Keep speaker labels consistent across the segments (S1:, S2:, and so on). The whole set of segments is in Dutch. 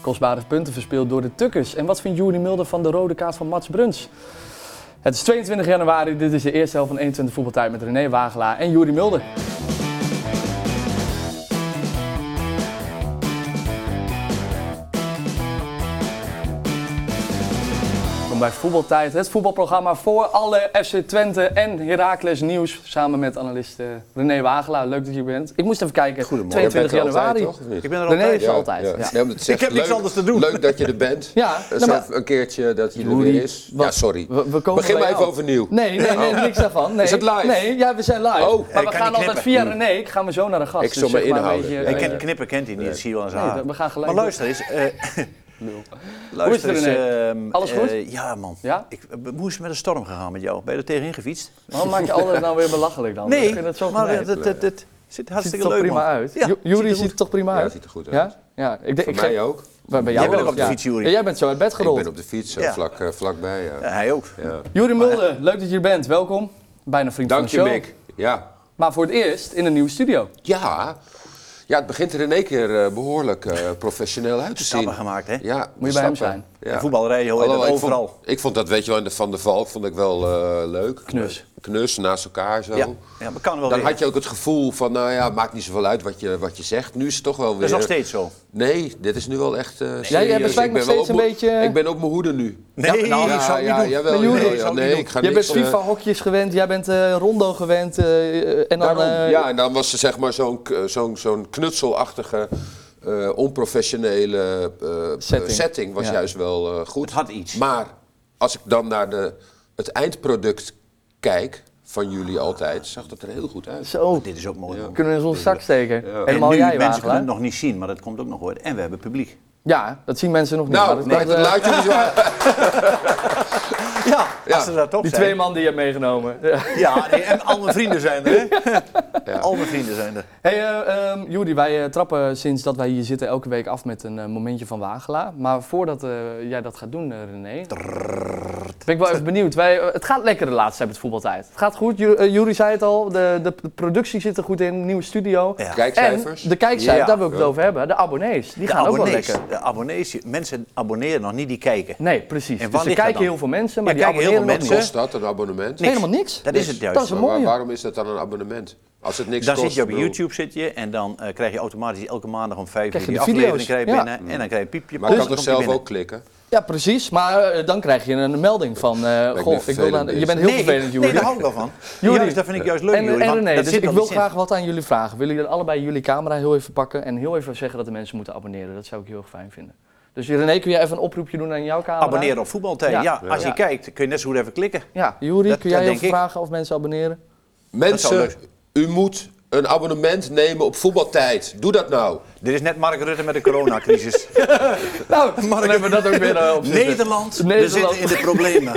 S1: Kostbare punten verspeeld door de Tukkers. En wat vindt Jury Mulder van de rode kaart van Mats Bruns? Het is 22 januari, dit is de eerste helft van 21 voetbaltijd met René Wagelaar en Jury Mulder. Welkom bij Voetbaltijd, het voetbalprogramma voor alle FC Twente en Heracles nieuws. Samen met analist eh, René Wagelaar, leuk dat je bent. Ik moest even kijken,
S2: Goedemorgen.
S1: 22
S3: Jij bent er
S1: januari.
S3: altijd, toch, of niet?
S2: Ik ben er
S1: René
S2: altijd.
S1: is er altijd. Ja.
S3: Nee, maar het zegt
S2: heb niks
S3: leuk-
S2: anders te doen.
S3: Leuk dat je er bent.
S1: Ja,
S3: Zo
S1: nou, maar-
S3: een keertje dat je er
S1: Joeri,
S3: weer is. Ja,
S1: wat-
S3: sorry.
S1: we- we komen
S3: Begin
S1: bij
S3: maar even
S1: jou.
S3: overnieuw.
S1: Nee, nee, nee, niks daarvan. Nee.
S3: Oh. Is het live?
S1: Nee, ja, we zijn live.
S3: Oh,
S1: maar
S2: ik
S1: we gaan
S2: kan niet
S1: altijd
S2: knippen.
S1: via René, ik ga me zo naar de gast. Dus
S3: Ik zal me
S1: zeg maar
S3: inhouden.
S1: een eh,
S3: Ja,
S2: Ik
S3: ja,
S2: ken,
S3: ja.
S2: knippen kent hij niet, dat zie je wel aan zijn
S1: Nee,
S2: haar.
S1: we gaan gelijk
S2: Maar luister eens. eh, luister
S1: Hoe is het,
S2: eens,
S1: René?
S2: ehm,
S1: Alles goed?
S2: eh, ja, man.
S1: Ja?
S2: Ik, eh, hoe is het met de storm gegaan met jou? Ben je er tegenin gefietst?
S1: Waarom maak je altijd nou weer belachelijk dan?
S2: Nee,
S1: ik vind het zo
S2: maar
S1: gemeen.
S2: het, het, het, het ziet
S1: ziet er
S2: hartstikke
S1: toch
S2: leuk
S1: prima
S2: man.
S1: uit.
S2: Ja,
S1: Ju- Jury ziet er toch prima
S3: Ja,
S1: uit?
S3: het ziet er goed uit.
S1: Ja? Ja, ik denk
S3: Voor
S1: ik
S3: mij
S1: ga-
S3: ook.
S1: Bij, bij jou
S2: Jij bent ook op de
S1: ja.
S2: fiets, Jury.
S1: Ja, jij bent zo uit bed
S3: Ik
S1: gerold.
S3: ben op de fiets, zo
S2: Ja.
S3: vlak, eh, vlakbij. Ja.
S2: Ja, hij ook.
S3: Ja.
S1: Jury Mulder, leuk dat je er bent. Welkom. Bijna vriend
S3: Dank
S1: van
S3: je,
S1: de show.
S3: Mick. Ja.
S1: Maar voor het eerst in een nieuwe studio.
S3: ja. Ja, het begint er in één keer eh, behoorlijk eh, professioneel uit te zien.
S2: Stappen gemaakt, hè?
S3: Ja,
S1: Moet je bij hem
S3: stappen.
S1: zijn.
S3: Ja.
S2: Voetbalrijden hoor je dat
S3: Alhoewel, ik
S2: overal.
S3: Vond, ik vond dat, weet je wel, in de Van der Valk vond ik wel eh, leuk.
S1: Knus.
S3: Knus, naast elkaar zo.
S2: Ja, ja, maar kan wel
S3: Dan
S2: weer.
S3: had je ook het gevoel van, nou ja, maakt niet zoveel uit wat je, wat je zegt. Nu is het toch wel weer...
S2: Dat is nog steeds zo.
S3: Nee, dit is nu wel echt eh serieus.
S1: jij bezwijkt
S3: Ik ben
S1: nog
S3: wel
S1: steeds
S3: op
S1: een
S3: mo-
S1: beetje-
S3: Ik ben op mijn hoede nu.
S2: Nee,
S1: Ja, nou,
S2: ik zou het niet doen.
S3: jawel,
S1: Maar
S3: jawel,
S1: Joeri,
S3: jawel.
S1: ik zou het
S3: nee,
S2: niet
S3: ik ga
S1: Jij bent
S3: niks... eh,
S1: FIFA-hokjes gewend, jij bent eh, rondo gewend. eh, en dan,
S3: daarom.
S1: eh,
S3: ja, en dan was er zeg maar zo'n k- eh, zo'n zo'n knutselachtige, eh, onprofessionele eh,
S1: Setting.
S3: setting. was
S1: Ja.
S3: juist wel eh, goed.
S2: Het had iets.
S3: Maar als ik dan naar de, het eindproduct kijk van jullie altijd, zag dat er heel goed uit.
S1: Zo,
S2: Oh, Dit is ook mooi. man.
S1: kunnen we eens onze zak steken.
S2: En
S1: Helemaal
S2: nu,
S1: jij,
S2: mensen kunnen
S1: Wagelaar.
S2: het nog niet zien, maar dat komt ook nog hoor. En we hebben publiek.
S1: Ja, dat zien mensen nog niet. maar
S3: Nou,
S1: dat
S3: nee,
S1: komt,
S3: dat
S1: eh,
S3: laat jullie zo uit.
S2: Ja,
S3: Ja.
S2: als ze daar toch
S1: die
S2: zijn.
S1: twee man die je hebt meegenomen. Ja.
S2: Ja, nee, en al mijn vrienden zijn er, hè? Al mijn vrienden zijn er.
S1: Hey, eh, ehm, Joeri, wij eh, trappen sinds dat wij hier zitten elke week af met een eh, momentje van Wagelaar. Maar voordat eh, jij dat gaat doen, eh, René, ben ik wel even benieuwd. Wij, eh, het gaat lekker de laatste tijd met voetbaltijd. Het gaat goed, Ju- eh, Joeri zei het al, de, de p- productie zit er goed in, nieuwe studio.
S2: Ja.
S3: Kijkcijfers.
S1: En de kijkcijfers,
S2: Ja.
S1: daar wil ik het over hebben. De abonnees, die gaan ook wel lekker.
S2: de abonnees, mensen abonneren nog niet, die kijken.
S1: Nee, precies.
S2: En waar
S1: Dus er
S2: ligt dat
S1: kijken
S2: dan?
S1: heel veel mensen,
S2: Ja,
S1: maar die
S2: kijken heel
S1: abonneren
S2: veel
S1: nog
S2: mensen.
S1: niet.
S3: Kost dat een abonnement?
S2: Niks.
S1: Helemaal niks.
S2: Dat is het juist.
S1: Dat is een
S3: Maar waar-
S1: mooie.
S3: waarom is dat dan een abonnement? Als het niks
S2: Dan
S3: kost.
S2: zit je op
S3: ik bedoel,
S2: YouTube zit je, en dan eh, krijg je automatisch elke maandag om vijf
S1: Krijg
S2: uur
S1: je
S2: die
S1: de
S2: aflevering
S1: video's.
S2: krijg je
S1: Ja.
S2: binnen. En dan krijg je een piepje.
S3: Maar
S2: pop,
S3: ik kan
S2: dan
S3: toch
S2: komt
S3: zelf
S2: die
S3: ook klikken?
S1: Ja, precies. Maar eh, dan krijg je een melding van... eh
S3: ik
S1: goh,
S3: ben
S1: ik wil
S3: vervelend
S1: aan- je bent heel
S2: binnen. nee,
S1: vervelend,
S2: ik-
S1: Joeri.
S2: Nee, daar hou ik wel van.
S1: Joeri.
S2: Juist, dat vind ik juist leuk,
S1: En,
S2: Joeri,
S1: en
S2: want
S1: René,
S2: dat
S1: dus
S2: zit
S1: ik
S2: er
S1: wil
S2: niet in.
S1: graag wat aan jullie vragen. Willen jullie allebei jullie camera heel even pakken en heel even zeggen dat de mensen moeten abonneren? Dat zou ik heel erg fijn vinden. Dus René, kun jij even een oproepje doen aan jouw camera?
S2: Abonneren op voetbaltijd.
S1: Ja.
S2: Ja, als je
S1: Ja.
S2: kijkt kun je net zo goed even klikken.
S1: Ja, Juri,
S2: Dat-
S1: kun
S2: dat
S1: jij
S2: denk
S1: even
S2: ik.
S1: vragen of mensen abonneren?
S2: zou
S3: Mensen,
S2: leuk
S3: u moet een abonnement nemen op voetbaltijd. Doe dat nou.
S2: Dit is net Mark Rutte met de coronacrisis.
S1: Nou, dan hebben we dat ook weer eh, op zitten.
S2: Nederland, we
S1: Nederland.
S2: zitten in de problemen.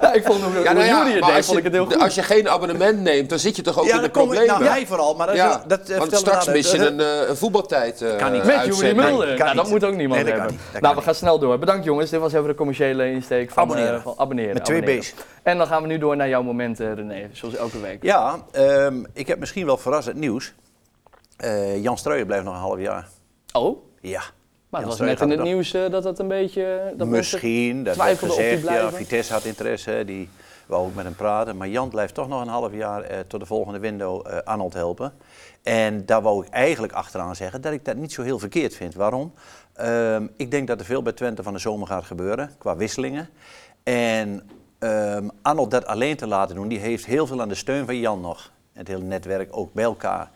S1: Ja, ik vond hoe, ja,
S3: nou
S1: Juri het
S3: maar
S1: deed,
S3: als,
S1: vond ik het heel
S3: je,
S1: goed.
S3: als je geen abonnement neemt, dan zit je toch ook in de
S2: dan kom ik-
S3: problemen?
S2: Nou, hij vooral, maar dat, is-
S3: ja,
S2: dat eh,
S3: want
S2: vertellen we
S3: straks
S2: later.
S3: mis je
S2: Dat-
S3: een, eh, een voetbaltijd eh
S2: Kan niet.
S1: Met Juri
S3: uitzending.
S1: Mulder.
S2: Nee, kan
S1: Nou, dat
S2: niet.
S1: moet ook niemand
S2: Nee, dat kan
S1: hebben.
S2: niet. Dat kan
S1: nou, we
S2: niet.
S1: gaan snel door. Bedankt jongens. Dit was even de commerciële insteek van
S2: Abonneren.
S1: eh, van abonneren.
S2: Met twee
S1: abonneren.
S2: B's.
S1: En dan gaan we nu door naar jouw moment, eh, René. Zoals elke week.
S2: Ja, ehm, ik heb misschien wel verrassend nieuws. Eh, Jan Struijer blijft nog een half jaar.
S1: Oh, maar
S2: Ja.
S1: het
S2: Jan
S1: was
S2: Struijer
S1: net
S2: gaat
S1: in het
S2: nog-
S1: nieuws eh, dat dat een beetje... Dat mensen-
S2: Misschien, dat werd
S1: twijfelden of die
S2: gezegd. Ja,
S1: blijven.
S2: Vitesse had interesse, hè, die wou ook met hem praten. Maar Jan blijft toch nog een half jaar eh, tot de volgende window eh, Arnold helpen. En daar wou ik eigenlijk achteraan zeggen dat ik dat niet zo heel verkeerd vind. Waarom? Ehm, ik denk dat er veel bij Twente van de zomer gaat gebeuren, qua wisselingen. En ehm Arnold dat alleen te laten doen, die heeft heel veel aan de steun van Jan nog. Het hele netwerk ook bij elkaar.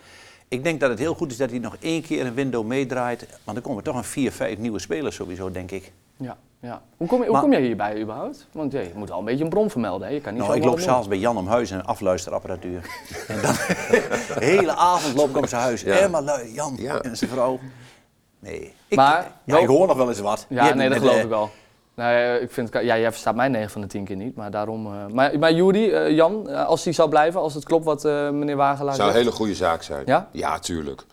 S2: Ik denk dat het heel goed is dat hij nog één keer een window meedraait. Want er komen toch een vier, vijf nieuwe spelers sowieso, denk ik.
S1: Ja, ja. Hoe, kom je, hoe
S2: Maar-
S1: kom jij hierbij überhaupt? Want ja, je moet al een beetje een bron vermelden. Hè? Je kan niet
S2: Nou, ik
S1: zomaar
S2: loop
S1: wat
S2: s'avonds bij Jan om huis en afluisterapparatuur. en dan de hele avond loop ik om zijn huis. En maar lui, Jan
S3: Ja.
S2: en zijn vrouw. Nee. Ik,
S1: Maar
S2: ja,
S1: wel-
S2: ik hoor nog wel eens wat.
S1: doen.
S2: Je
S1: Ja,
S2: hebt
S1: nee, dat
S2: met,
S1: geloof
S2: eh,
S1: ik wel. Nee, ik vind, het- ja, jij verstaat mij 9 van de 10 keer niet, maar daarom... eh, maar, maar Juri, eh, Jan, eh, als die zou blijven, als het klopt wat eh, meneer Wagelaar
S3: zou
S1: zegt...
S3: een hele goede zaak zijn.
S1: Ja?
S3: tuurlijk.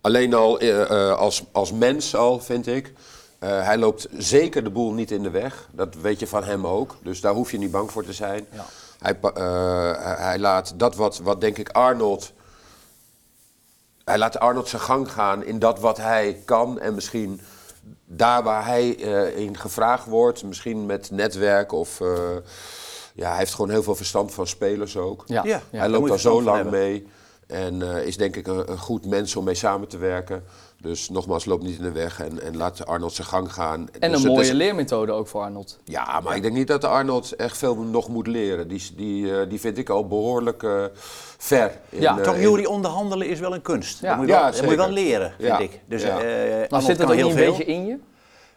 S3: Alleen al eh, eh, als, als mens al, vind ik. Eh, hij loopt zeker de boel niet in de weg. Dat weet je van hem ook. Dus daar hoef je niet bang voor te zijn. Hij, pa- eh, hij- hij laat dat wat, wat denk ik Arnold... Hij laat Arnold zijn gang gaan in dat wat hij kan en misschien daar waar hij eh, in gevraagd wordt, misschien met netwerk of... eh, ja, hij heeft gewoon heel veel verstand van spelers ook.
S1: Ja.
S2: Ja.
S3: hij
S2: daar moet
S3: loopt
S2: je
S3: al zo
S2: verstand van
S3: lang
S2: hebben.
S3: mee en eh, is denk ik een, een goed mens om mee samen te werken. Dus nogmaals, loop niet in de weg en, en laat Arnold zijn gang gaan.
S1: En
S3: Dus
S1: een
S3: het
S1: mooie
S3: is-
S1: leermethode ook voor Arnold.
S3: ja, maar ik denk niet dat Arnold echt veel nog moet leren. Die, die, eh, die vind ik al behoorlijk eh, ver. In,
S1: Ja,
S3: eh,
S2: Toch,
S3: in-
S2: Jury, onderhandelen is wel een kunst.
S1: Ja.
S2: Dat, moet je wel,
S3: Ja,
S2: dat moet je wel
S3: zeker.
S2: leren, vind
S3: Ja.
S2: ik. Dus,
S3: Ja.
S2: eh,
S1: Maar
S2: Arnold
S1: zit dat
S2: kan
S1: ook
S2: heel
S1: niet een
S2: veel.
S1: beetje in je?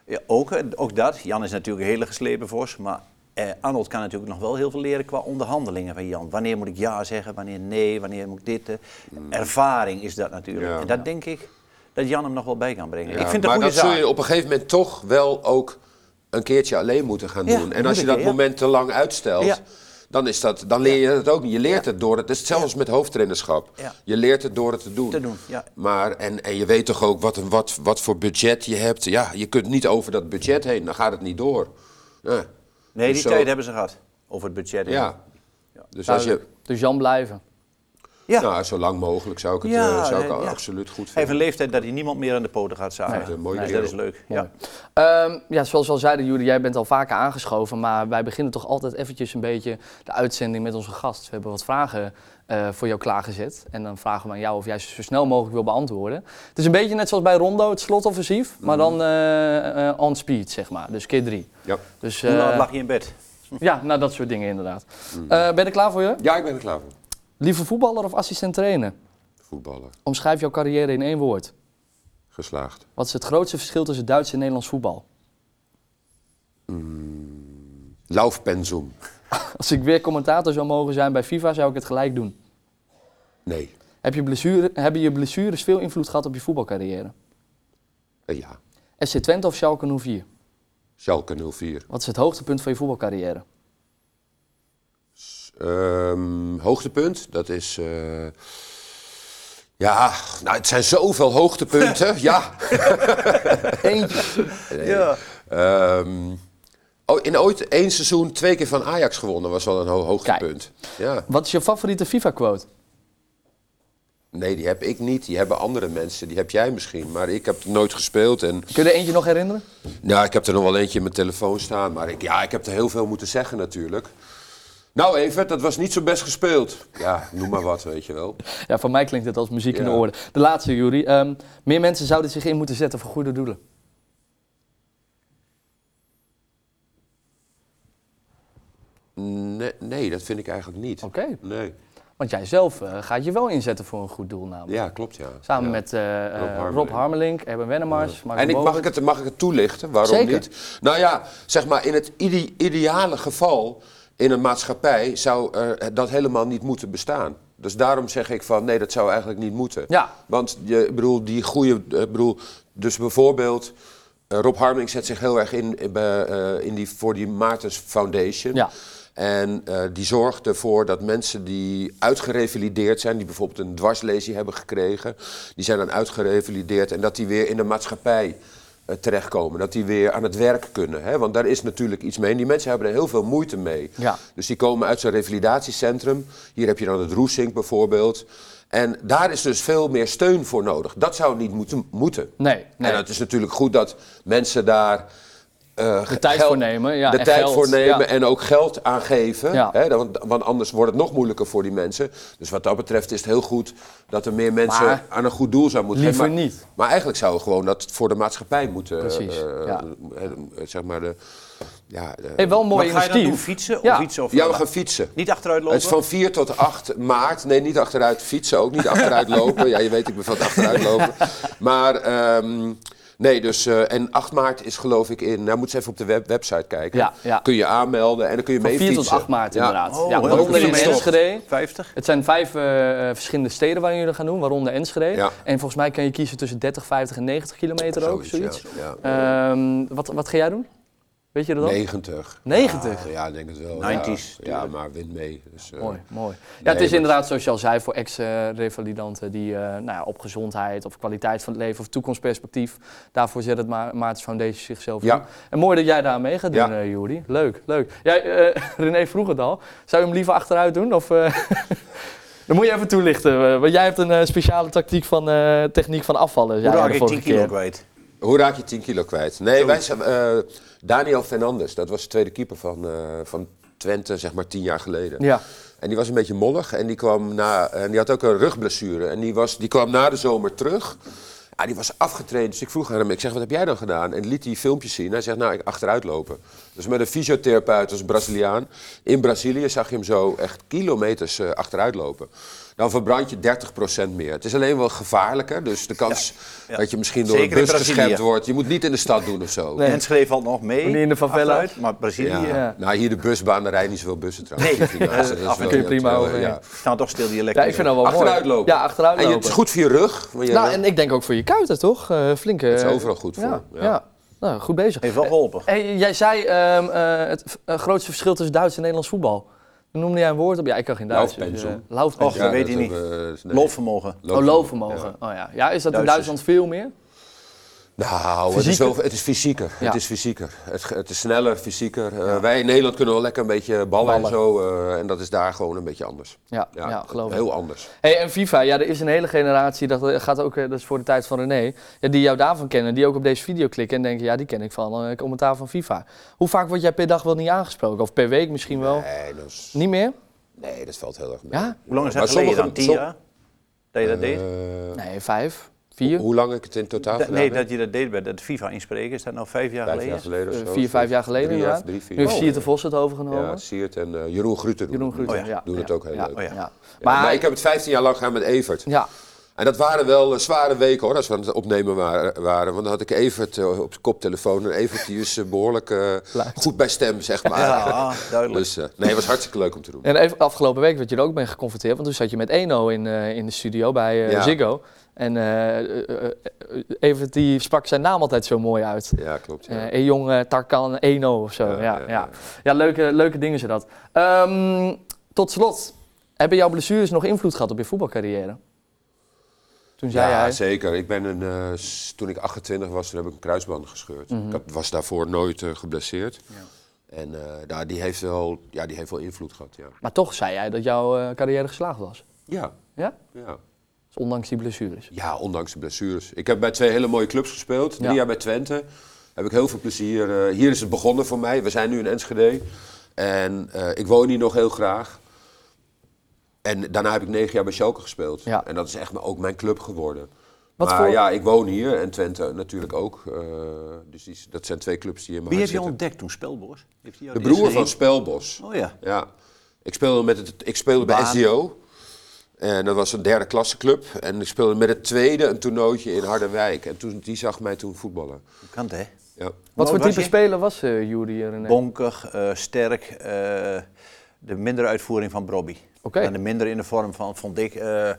S2: Ja, ook, eh, ook dat. Jan is natuurlijk een hele geslepen vos. Maar eh, Arnold kan natuurlijk nog wel heel veel leren qua onderhandelingen van Jan. Wanneer moet ik ja zeggen, wanneer nee, wanneer moet ik dit. eh. Ervaring is dat natuurlijk.
S3: Mm. Ja.
S2: En dat denk ik dat Jan hem nog wel bij kan brengen.
S3: Ja,
S2: ik vind het
S3: maar
S2: een goede
S3: dat
S2: zaak.
S3: zul je op een gegeven moment toch wel ook een keertje alleen moeten gaan
S2: Ja,
S3: doen.
S2: moet
S3: En als
S2: ik,
S3: je dat
S2: ja.
S3: moment te lang uitstelt,
S2: Ja.
S3: dan, is dat, dan leer je het ook niet. Je leert het door het. Het is hetzelfde als met hoofdtrainerschap.
S2: Ja.
S3: Je leert het door het te doen.
S2: Te doen, ja.
S3: Maar, en, en je weet toch ook wat, een- wat, wat voor budget je hebt. Ja, je kunt niet over dat budget heen, dan gaat het niet door. Ja.
S2: Nee, die
S3: Dus zo-
S2: tijd hebben ze gehad. Over het budget. en-
S3: Ja. Dus als je,
S1: Duidelijk. Dus Jan blijven.
S2: ja.
S3: nou, zo lang mogelijk zou ik het
S2: Ja,
S3: eh, zou ik
S2: eh,
S3: al
S2: ja.
S3: absoluut goed
S2: Hij heeft
S3: vinden.
S2: een leeftijd dat hij niemand meer aan de poten gaat zagen.
S3: Nee, dat is een mooie
S2: dus dat
S3: kerel.
S2: is leuk.
S1: Mooi.
S2: Ja.
S1: Ehm, ja, zoals we al zeiden, Juri, jij bent al vaker aangeschoven, maar wij beginnen toch altijd eventjes een beetje de uitzending met onze gast. We hebben wat vragen eh, voor jou klaargezet en dan vragen we aan jou of jij ze zo snel mogelijk wil beantwoorden. Het is een beetje net zoals bij Rondo, het slotoffensief, maar
S2: Mhm.
S1: dan eh, eh, on speed, zeg maar, dus keer drie.
S3: Ja.
S1: Dus,
S2: Hoe
S1: eh,
S2: Nou, laat Mhm. lag je in bed?
S1: ja, nou dat soort dingen inderdaad. Eh, ben je er klaar voor je?
S3: ja, ik ben er klaar voor.
S1: Lieve voetballer of assistent trainer?
S3: Voetballer,
S1: Omschrijf jouw carrière in één woord.
S3: geslaagd.
S1: Wat is het grootste verschil tussen Duits en Nederlands voetbal?
S3: Laufpensum.
S1: Als ik weer commentator zou mogen zijn bij FIFA, zou ik het gelijk doen.
S3: Nee.
S1: Heb je blessure, hebben je blessures veel invloed gehad op je voetbalcarrière?
S3: Eh, ja.
S1: FC Twente of Schalke 04?
S3: Schalke 04.
S1: Wat is het hoogtepunt van je voetbalcarrière?
S3: Ehm, hoogtepunt, dat is. eh, ja, nou, het zijn zoveel hoogtepunten. ja.
S1: Eentje.
S2: Ja.
S3: Ehm, oh, in ooit één seizoen twee keer van Ajax gewonnen was wel een ho- hoogtepunt. Ja.
S1: Wat is je favoriete FIFA-quote?
S3: Nee, die heb ik niet. Die hebben andere mensen. Die heb jij misschien. Maar ik heb er nooit gespeeld. En,
S1: Kun je er eentje nog herinneren?
S3: nou, ik heb er nog wel eentje in mijn telefoon staan. Maar ik, ja, ik heb er heel veel moeten zeggen natuurlijk. Nou, Evert, dat was niet zo best gespeeld. Ja, noem maar wat, weet je wel.
S1: Ja, voor mij klinkt het als muziek in de
S3: Ja.
S1: oren. De laatste, Jury. Ehm, meer mensen zouden zich in moeten zetten voor goede doelen.
S3: Nee, nee dat vind ik eigenlijk niet.
S1: Oké.
S3: Nee.
S1: Want jij zelf eh, gaat je wel inzetten voor een goed doel namelijk.
S3: Ja, klopt ja.
S1: Samen
S3: Ja.
S1: met eh, eh,
S3: Harmelink.
S1: Rob Harmelink, Erben Wennemars, Marco
S3: En ik, mag,
S1: Bogert.
S3: ik het, mag ik het toelichten? Waarom
S1: Zeker.
S3: niet? Nou ja, zeg maar, in het ide- ideale geval in een maatschappij zou er eh, dat helemaal niet moeten bestaan. Dus daarom zeg ik van nee, dat zou eigenlijk niet moeten.
S1: Ja.
S3: Want je, ik bedoel, die goede. eh, Ik bedoel, dus bijvoorbeeld. eh, Rob Harming zet zich heel erg in, eh, bij, eh, in die, voor die Maartens Foundation.
S1: Ja.
S3: En eh, die zorgt ervoor dat mensen die uitgerevalideerd zijn, die bijvoorbeeld een dwarslesie hebben gekregen, die zijn dan uitgerevalideerd en dat die weer in de maatschappij eh, terechtkomen. Dat die weer aan het werk kunnen. Hè? Want daar is natuurlijk iets mee. En die mensen hebben er heel veel moeite mee.
S1: Ja.
S3: Dus die komen uit zo'n revalidatiecentrum. Hier heb je dan het Roesink bijvoorbeeld. En daar is dus veel meer steun voor nodig. Dat zou niet moeten. moeten.
S1: Nee, nee.
S3: En het is natuurlijk goed dat mensen daar eh,
S1: De tijd
S3: geld-
S1: voor nemen, ja,
S3: de
S1: en
S3: tijd
S1: geld,
S3: voor nemen
S1: ja.
S3: en ook geld aan geven.
S1: Ja.
S3: Hè, dan- want, want anders wordt het nog moeilijker voor die mensen. Dus wat dat betreft is het heel goed dat er meer mensen
S1: Maar
S3: aan een goed doel zou moeten
S1: liever
S3: maar,
S1: niet.
S3: Maar eigenlijk zou we gewoon dat voor de maatschappij moeten.
S1: Precies,
S3: eh,
S1: ja.
S3: eh, eh, zeg maar de, ja, eh,
S1: Hey, wel een mooi
S2: Wat ga je dan doen?
S1: initiatief.
S2: Fietsen? Of
S1: Ja.
S2: fietsen of eh,
S3: ja, we gaan fietsen.
S2: Niet achteruit
S3: Het is
S2: lopen?
S3: van 4 tot 8 maart. Nee, niet achteruit fietsen, ook niet achteruit lopen. Ja, je weet, ik ben van het achteruit lopen. Maar ehm, nee, dus. eh, en 8 maart is geloof ik in. Nou, moet ze even op de web- website kijken.
S1: Ja, ja.
S3: Kun je aanmelden en dan kun je
S1: Van
S3: mee
S1: 4
S3: fietsen.
S1: tot 8 maart
S3: Ja.
S1: inderdaad.
S2: Oh,
S1: ja,
S2: heel
S1: waaronder
S2: veel
S1: in
S2: mensen.
S1: Enschede.
S2: 50?
S1: Het zijn vijf eh, eh, verschillende steden waarin jullie gaan doen, waaronder Enschede.
S3: Ja.
S1: En volgens mij kan je kiezen tussen 30, 50 en 90 kilometer ook,
S3: Zoiets,
S1: zoiets.
S3: ja,
S1: Ehm, wat, wat ga jij doen? Weet je dat ook?
S3: 90.
S1: 90?
S3: Ja, ik denk het wel.
S2: 90s,
S3: Ja, ja maar win mee. Dus, eh,
S1: Mooi, mooi. Ja,
S3: Nee,
S1: het is
S3: maar-
S1: inderdaad, zoals je al zei, voor ex-revalidanten die eh, nou ja, op gezondheid of kwaliteit van het leven of toekomstperspectief, daarvoor zet het Ma Maartens Foundation zichzelf
S3: Ja.
S1: in. En mooi dat jij daar aan mee gaat doen,
S3: Ja.
S1: eh, Juri. Leuk, leuk. Jij, eh, René vroeg het al, zou je hem liever achteruit doen? Of, eh, Dan moet je even toelichten, eh, want jij hebt een eh, speciale tactiek van eh, techniek van afvallen.
S2: Hoe
S1: zei jij
S2: raak
S1: de
S2: ik
S1: vorige
S2: 10 kilo
S1: keer.
S2: kwijt?
S3: Hoe raak je 10 kilo kwijt? Nee, wij zijn, eh, Daniel Fernandes, dat was de tweede keeper van, eh, van Twente, zeg maar tien jaar geleden.
S1: Ja.
S3: En die was een beetje mollig en die, kwam na, en die had ook een rugblessure. En die, was, die kwam na de zomer terug. Ah, die was afgetraind, dus ik vroeg aan hem, ik zeg, wat heb jij dan gedaan? En liet hij filmpjes zien. Hij zegt, nou, ik achteruit lopen. Dus met een fysiotherapeut, als Braziliaan. In Brazilië zag je hem zo echt kilometers eh, achteruit lopen. Dan verbrand je 30% meer. Het is alleen wel gevaarlijker, dus de kans
S2: Ja.
S3: dat je misschien door
S2: Zeker in
S3: een bus
S2: Brazilië.
S3: geschept wordt. Je moet niet in de stad doen of zo.
S1: Nee.
S2: En schreef al nog mee.
S1: Niet in de favela.
S2: achteruit, maar Brazilië.
S3: Ja.
S1: Ja.
S3: Nou, hier de busbaan, daar rijden niet zoveel bussen trouwens.
S2: Nee.
S3: Die finale,
S2: Af en
S3: wel
S2: kun
S1: je prima
S3: heel-
S1: overheen.
S3: ja.
S2: Staan Nou, toch stil die
S1: Ja,
S2: elektrische.
S1: ik vind dat wel
S3: Achteruit
S1: mooi.
S3: lopen.
S1: Ja, achteruit
S3: En je,
S1: lopen.
S3: het is goed voor je rug. want je-
S1: Nou, en ik denk ook voor je kuiten, toch? Eh flinke...
S3: Het is overal goed voor,
S1: Ja, ja.
S3: ja.
S1: Nou, goed bezig.
S2: Heeft wel geholpen.
S1: Hey, jij zei ehm, eh, het v- eh, grootste verschil tussen Duits en Nederlands voetbal. Toen noemde jij een woord op. Ja, ik kan geen Duits.
S3: Laufpensum.
S1: eh, Laufpensum.
S2: Och, dat weet hij niet.
S3: hebben we- eh, nee.
S2: Loopvermogen.
S1: Oh, loopvermogen. Oh, ja. ja, is dat in
S2: Duitsers.
S1: Duitsland veel meer?
S3: Nou, het is,
S1: Fysieker.
S3: wel, het is fysieker.
S1: Ja.
S3: Het is fysieker. Het, ge- het is sneller, fysieker. Eh, wij in Nederland kunnen wel lekker een beetje ballen,
S1: Ballen.
S3: en zo. eh, en dat is daar gewoon een beetje anders.
S1: Ja, ja, geloof ik.
S3: Heel anders.
S1: Hey, en FIFA, ja, er is een hele generatie, dat eh, gaat ook, eh, dat is voor de tijd van René, ja, die jou daarvan kennen, die ook op deze video klikken en denken, ja, die ken ik van eh commentaar van FIFA. Hoe vaak word jij per dag wel niet aangesproken? Of per week misschien wel?
S3: Nee, dat, is-
S1: Niet meer?
S3: nee, dat valt heel erg mee.
S1: Ja?
S2: Hoe lang is
S3: Maar
S2: dat geleden dan?
S3: sommige-
S2: Tien
S3: som-
S2: jaar? Dat je dat deed?
S3: Eh,
S1: Nee, vijf, vier,
S3: hoe lang ik het in totaal
S2: Dat-
S3: gedaan
S2: nee,
S3: heb?
S2: dat je dat deed bij dat FIFA inspreken. Is dat nou vijf jaar
S3: Vijf
S2: geleden?
S3: jaar geleden of
S1: eh,
S3: zo.
S1: vier, vijf jaar geleden
S3: Drie,
S1: inderdaad.
S3: of drie, vier
S1: nu heeft
S3: jaar
S1: Siert de Vos het overgenomen.
S3: Ja, Siert en eh, Jeroen Gruter doen
S1: Jeroen
S3: het.
S1: Gruter,
S2: Oh
S1: ja.
S2: ja,
S3: doen het ook heel leuk.
S2: Oh ja.
S1: Ja.
S3: Ja,
S1: Maar,
S3: maar ik heb het 15 jaar lang gedaan met Evert.
S1: ja,
S3: En dat waren wel eh, zware weken hoor, als we aan het opnemen waren. waren. Want dan had ik Evert eh, op de koptelefoon. En Evert die is eh, behoorlijk eh, goed bij stem, zeg maar.
S2: Ja, duidelijk.
S3: Dus eh, nee, het was hartstikke leuk om te doen.
S1: en even, afgelopen week werd je er ook mee geconfronteerd, want toen zat je met Eno in, eh, in de studio bij eh,
S3: Ja.
S1: Ziggo. En eh eh, eh, Evert die sprak zijn naam altijd zo mooi uit.
S3: Ja, klopt. Ja.
S1: eh Ejong, eh, Tarkan, Eno of zo. Ja,
S3: Ja,
S1: ja, ja,
S3: ja, ja.
S1: leuke, leuke dingen zijn dat. Ehm, tot slot, hebben jouw blessures nog invloed gehad op je voetbalcarrière? Toen zei
S3: ja,
S1: hij...
S3: zeker. Ik ben een, eh, s- toen ik 28 was, toen heb ik een kruisband gescheurd. Ik had- was daarvoor nooit eh, geblesseerd. En eh, daar- die, heeft wel, ja, die heeft wel invloed gehad, ja.
S1: Maar toch zei jij dat jouw eh, carrière geslaagd was.
S3: Ja,
S1: Ja?
S3: ja.
S1: Dus ondanks die blessures.
S3: Ja, ondanks de blessures. Ik heb bij twee hele mooie clubs gespeeld. Drie
S1: Ja.
S3: jaar bij Twente. Heb ik heel veel plezier. eh, hier is het begonnen voor mij. We zijn nu in Enschede. En eh, ik woon hier nog heel graag. En daarna heb ik negen jaar bij Schalke gespeeld.
S1: Ja.
S3: En dat is echt m- ook mijn club geworden.
S1: Wat
S3: maar
S1: voor-
S3: ja, ik woon hier en Twente natuurlijk ook. eh, dus die, dat zijn twee clubs die in mijn
S2: Wie heb
S3: hart zitten.
S2: je ontdekt toen? Spelbos? Heeft hij
S3: De
S2: jou eerste
S3: broer van
S2: gezien?
S3: Spelbos.
S2: Oh ja.
S3: Ja, ik speelde, met het, ik speelde bij
S2: Waar?
S3: SDO. En dat was een derde klasse club. En ik speelde met het tweede een toernooitje in Harderwijk. En toen, die zag mij toen voetballen.
S2: Hoe kan het, hè?
S3: Ja.
S1: Wat
S2: oud
S1: voor
S2: was
S1: type
S2: je?
S1: speler was eh Jury René?
S2: Bonkig, eh, sterk. eh, de mindere uitvoering van Brobby.
S1: Oké.
S2: En de mindere in de vorm van, vond ik, eh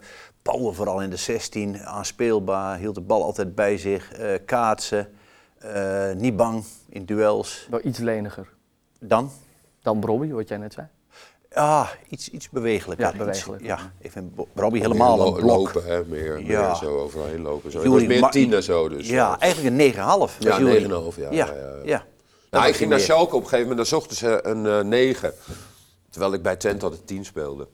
S2: power vooral in de 16. Aanspeelbaar, hield de bal altijd bij zich. eh, kaatsen, eh, niet bang in duels.
S1: Wel iets leniger
S2: Dan?
S1: dan Robbie, wat jij net zei.
S2: Ah, iets, iets bewegelijker.
S1: Ja,
S2: Iets-
S1: bewegelijk.
S2: ja, ik vind Bo- Brobby helemaal een
S3: Meer
S2: blok.
S3: Lopen, hè, meer,
S2: Ja.
S3: meer zo overal heen lopen. Zo. Ik
S2: Jury,
S3: was meer
S2: maar-
S3: tien en zo. Dus,
S2: ja, eigenlijk een 9,5. was
S3: Ja,
S2: Jury.
S3: 9,5, ja,
S2: Ja,
S3: ja, ja.
S2: ja. Dat
S3: Nou, ik
S2: was
S3: ging
S2: hij
S3: naar
S2: meer.
S3: Schalke op een gegeven moment, dan zochten ze een eh, negen. Terwijl ik bij Twente altijd tien speelde.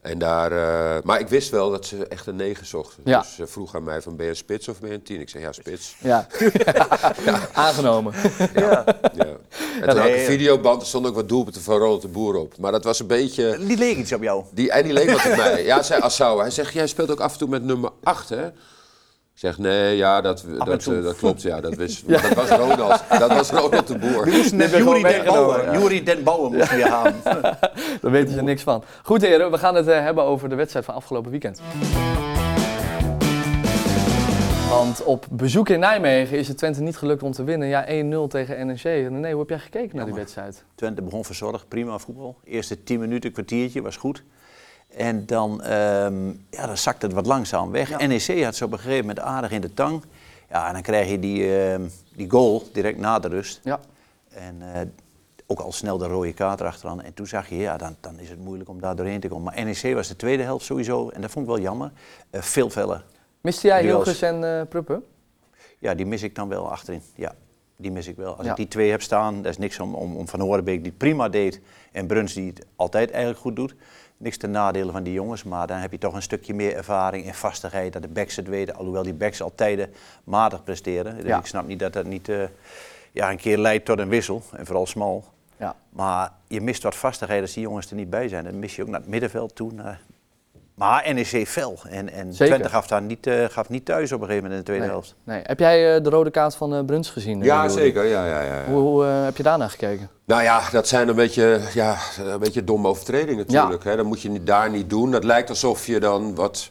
S3: En daar, eh, maar ik wist wel dat ze echt een negen zochten.
S1: Ja.
S3: Dus ze vroeg aan mij van, ben je een spits of ben je een tien? Ik zei, ja, spits.
S1: Ja. Aangenomen.
S3: Ja. En toen had ik
S2: Nee,
S3: een videoband, er stonden ook wat doelpunten van Ronald de Boer op. Maar dat was een beetje...
S2: Die leek iets op jou.
S3: Die, en die leek wat op mij. Ja, zei Assauer. Hij zegt, jij speelt ook af en toe met nummer 8, hè? Ik zeg, nee, ja, dat, dat,
S2: toe.
S3: eh, dat klopt. Ja, dat, wist, dat was Ronald. Dat was Ronald de Boer.
S2: Moesten net
S1: ben
S2: Jury
S1: gewoon
S2: Den Bouwer.
S1: meegenomen,
S2: Jury Den Bouwer moest weer halen.
S1: Daar weten ze niks van. Goed heren, we gaan het eh, hebben over de wedstrijd van afgelopen weekend. Want op bezoek in Nijmegen is het Twente niet gelukt om te winnen. Ja, 1-0 tegen NEC. René, hoe heb jij gekeken naar die wedstrijd?
S2: Twente begon verzorgd, prima voetbal. Eerste 10 minuten, kwartiertje, was goed. En dan, ehm ja, dan zakt het wat langzaam weg. NEC had ze op een gegeven moment aardig in de tang. Ja, en dan krijg je die, ehm, die goal direct na de rust.
S1: Ja,
S2: En eh, ook al snel de rode kaart erachteraan. En toen zag je, ja, dan, dan is het moeilijk om daar doorheen te komen. Maar NEC was de tweede helft sowieso. En dat vond ik wel jammer. Eh, veel feller.
S1: miste jij
S2: Duels.
S1: Hilgers en eh Pruppen?
S2: Ja, die mis ik dan wel achterin. Ja, die mis ik wel. Als
S1: Ja.
S2: ik die twee heb staan, dat is niks om, om, om Van Horenbeek die het prima deed en Bruns die het altijd eigenlijk goed doet. Niks ten nadele van die jongens, maar dan heb je toch een stukje meer ervaring en vastigheid. Dat de backs het weten, alhoewel die backs altijd eh, matig presteren. Dus
S1: Ja.
S2: ik snap niet dat dat niet eh, ja, een keer leidt tot een wissel, en vooral smal.
S1: Ja.
S2: Maar je mist wat vastigheid als die jongens er niet bij zijn. Dan mis je ook naar het middenveld toe. naar- Maar NEC fel. En, en
S1: Zeker.
S2: Twente gaf, daar niet, eh, gaf niet thuis op een gegeven moment in de tweede
S1: Nee.
S2: helft.
S1: Nee. Heb jij eh, de rode kaart van eh, Bruns gezien? eh,
S3: Ja,
S1: Jordi?
S3: zeker. Ja, ja, ja.
S1: Hoe, hoe eh, heb je daarna gekeken?
S3: Nou ja, dat zijn een beetje, ja, een beetje domme overtredingen natuurlijk. Hè? Dat moet je niet, daar niet doen. Dat lijkt alsof je dan wat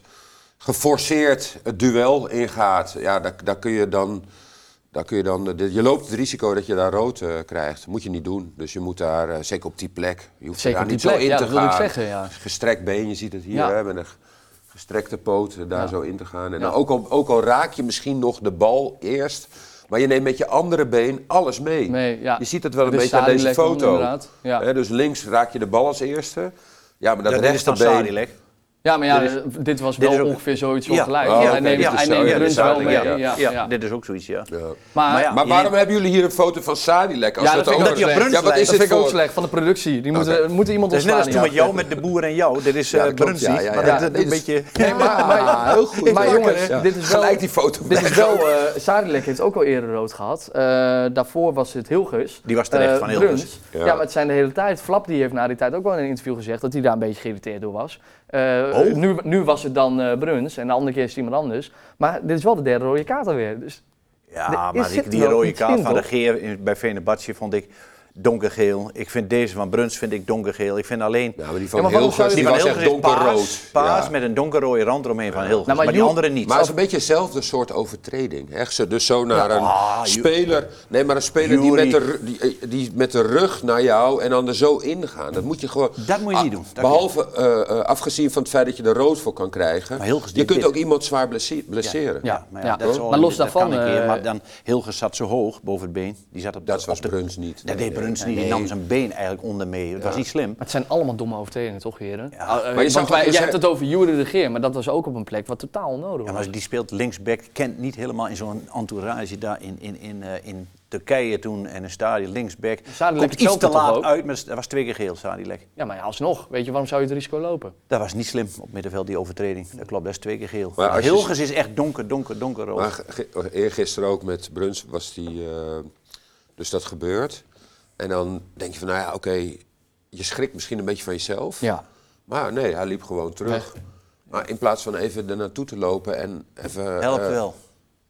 S3: geforceerd het duel ingaat. Ja, daar, daar kun je dan... Daar kun je, dan de- je loopt het risico dat je daar rood eh, krijgt. moet je niet doen. Dus je moet daar, eh, zeker op die plek, je hoeft
S1: Zeker
S3: daar
S1: op die plek,
S3: niet zo in
S1: ja,
S3: te
S1: dat wilde
S3: gaan.
S1: ik zeggen, ja.
S3: Gestrekt been, je ziet het hier
S1: Ja.
S3: hè, met een gestrekte poot, eh, daar
S1: Ja.
S3: zo in te gaan.
S1: Ja.
S3: En dan ook, al, ook al raak je misschien nog de bal eerst, maar je neemt met je andere been alles mee.
S1: Nee, ja.
S3: Je ziet het wel een
S1: Dus
S3: beetje aan
S1: Sadi
S3: deze
S1: legt hem
S3: foto.
S1: inderdaad, ja.
S3: Hè, dus links raak je de bal als eerste. Ja, maar dat,
S2: Dat is dan
S3: rechterbeen...
S2: Sadilek.
S1: Ja, maar ja,
S2: Dit
S1: eh, dit, was
S2: dit
S1: wel
S2: is ook-
S1: ongeveer zoiets
S2: Ja.
S1: ongelijk.
S3: Oh,
S1: hij
S3: oké,
S1: neemt,
S3: dit
S1: hij
S3: is
S1: neemt
S3: zo, ja, dit
S1: Bruns
S3: is
S1: wel
S3: zo,
S1: mee.
S3: ja,
S1: Ja,
S3: ja,
S1: ja.
S2: dit is ook zoiets, ja.
S3: Ja.
S1: Maar,
S2: Maar ja,
S3: Maar waarom hebben jullie hier een foto van Sadilek? Als
S1: Ja, dat vind ik
S3: ook-
S1: ook slecht.
S3: Ja, wat
S2: Dat
S3: is
S1: dat
S3: dit
S1: vind ik ook
S3: voor...
S1: slecht van de productie. Die moeten, moeten iemand
S2: Het is Dus net als
S1: ontslaan.
S2: toen
S1: ja.
S2: met jou, met de boer en jou. Dit is eh
S3: Ja, dat klopt,
S2: Brunsie,
S3: ja, ja,
S2: maar
S3: ja.
S2: dat- dat
S3: Dit
S2: een
S3: is-
S2: beetje...
S1: Nee, maar, maar-
S3: heel goed.
S1: Maar
S3: Lekker,
S1: jongens,
S3: ja.
S1: dit is wel-
S3: Gelijk die foto
S1: Dit is
S3: weg.
S1: wel, eh Sadilek heeft ook al eerder rood gehad. Eh, daarvoor was het Hilgers.
S2: Die was terecht
S1: Eh,
S2: van Hilgers.
S1: Bruns. Ja.
S3: Ja.
S1: maar het zijn de hele tijd. Flap die heeft na die tijd ook wel in een interview gezegd dat hij daar een beetje geïrriteerd door was. Eh,
S2: Oh.
S1: nu, nu was het dan eh, Bruns en de andere keer is het iemand anders. Maar dit is wel de derde rode kaart alweer. Dus
S2: Ja,
S1: Er
S2: maar
S1: zit
S2: die, die
S3: nou
S1: wel
S2: rode
S1: iets
S2: kaart
S1: in,
S2: van de
S1: toch?
S2: Geer in- bij Venebatje vond ik donkergeel. Ik vind deze van Bruns vind ik donkergeel. Ik vind alleen...
S3: Ja, maar die
S1: Ja,
S3: van
S1: maar waarom zou
S3: Hilgers,
S1: je-
S3: die
S1: Die
S3: was echt
S2: van Hilgers is
S3: donkerrood.
S2: Paas, paas
S3: Ja.
S2: met een donkerrode rand eromheen van Hilgers.
S1: Nou, maar
S2: maar, die
S1: Joep-
S2: andere niet.
S3: Maar Oh, het is een beetje hetzelfde soort overtreding. Hè? Ze- Dus zo naar een
S2: Ah, Ju-
S3: speler. Nee, maar een speler die met,
S2: Jury.
S3: de, ru- die, eh, die met de rug naar jou en dan er zo ingaan. Dat moet je gewoon.
S2: Dat moet je
S3: Ah,
S2: niet doen. Dat
S3: behalve eh, eh, afgezien van het feit dat je er rood voor kan krijgen.
S2: Maar Hilgers
S3: je
S2: deed
S3: kunt
S2: dit.
S3: ook iemand zwaar blesse- blesseren.
S1: Ja.
S2: maar, ja, dat is al-
S1: Maar los
S2: dat
S1: daarvan,
S2: kan een keer,
S1: eh,
S2: maar dan Hilgers zat zo hoog boven het been. Die zat op,
S3: Dat was
S2: op de...
S3: Bruns niet.
S2: Dat
S3: Nee,
S2: deed
S3: nee.
S2: Bruns niet. Die nam zijn been eigenlijk onder mee. Dat was niet slim.
S1: maar het zijn allemaal domme overtredingen, toch, heren?
S2: Ja.
S1: Ah, eh,
S2: Maar je
S1: want
S3: zag ook-
S1: wij-
S3: je
S1: jij
S3: zei-
S1: hebt het over Jure de Geer, maar dat was ook op een plek wat totaal onnodig
S2: Ja,
S1: was.
S2: maar die speelt linksback, kent niet helemaal in zo'n entourage daar in, in, in, eh, in Turkije toen en een stadion linksback.
S1: Sadilek
S2: Komt iets
S1: hetzelfde
S2: te
S1: toch
S2: laat
S1: ook?
S2: uit, maar dat was twee keer geel, Sadilek.
S1: Ja, maar ja, alsnog. Weet je, waarom zou je het risico lopen?
S2: Dat was niet slim op middenveld, die overtreding. Dat klopt, dat is twee keer geel.
S3: Maar als je-
S2: Hilgers is echt donker, donker, donker rood.
S3: Maar ge- ge- eergisteren ook met Bruns was die. eh, dus dat gebeurt. En dan denk je van, nou ja, oké. je schrikt misschien een beetje van jezelf.
S1: Ja.
S3: Maar nee, hij liep gewoon terug. Maar in plaats van even er naartoe te lopen en even.
S2: Helpt
S3: eh,
S2: wel.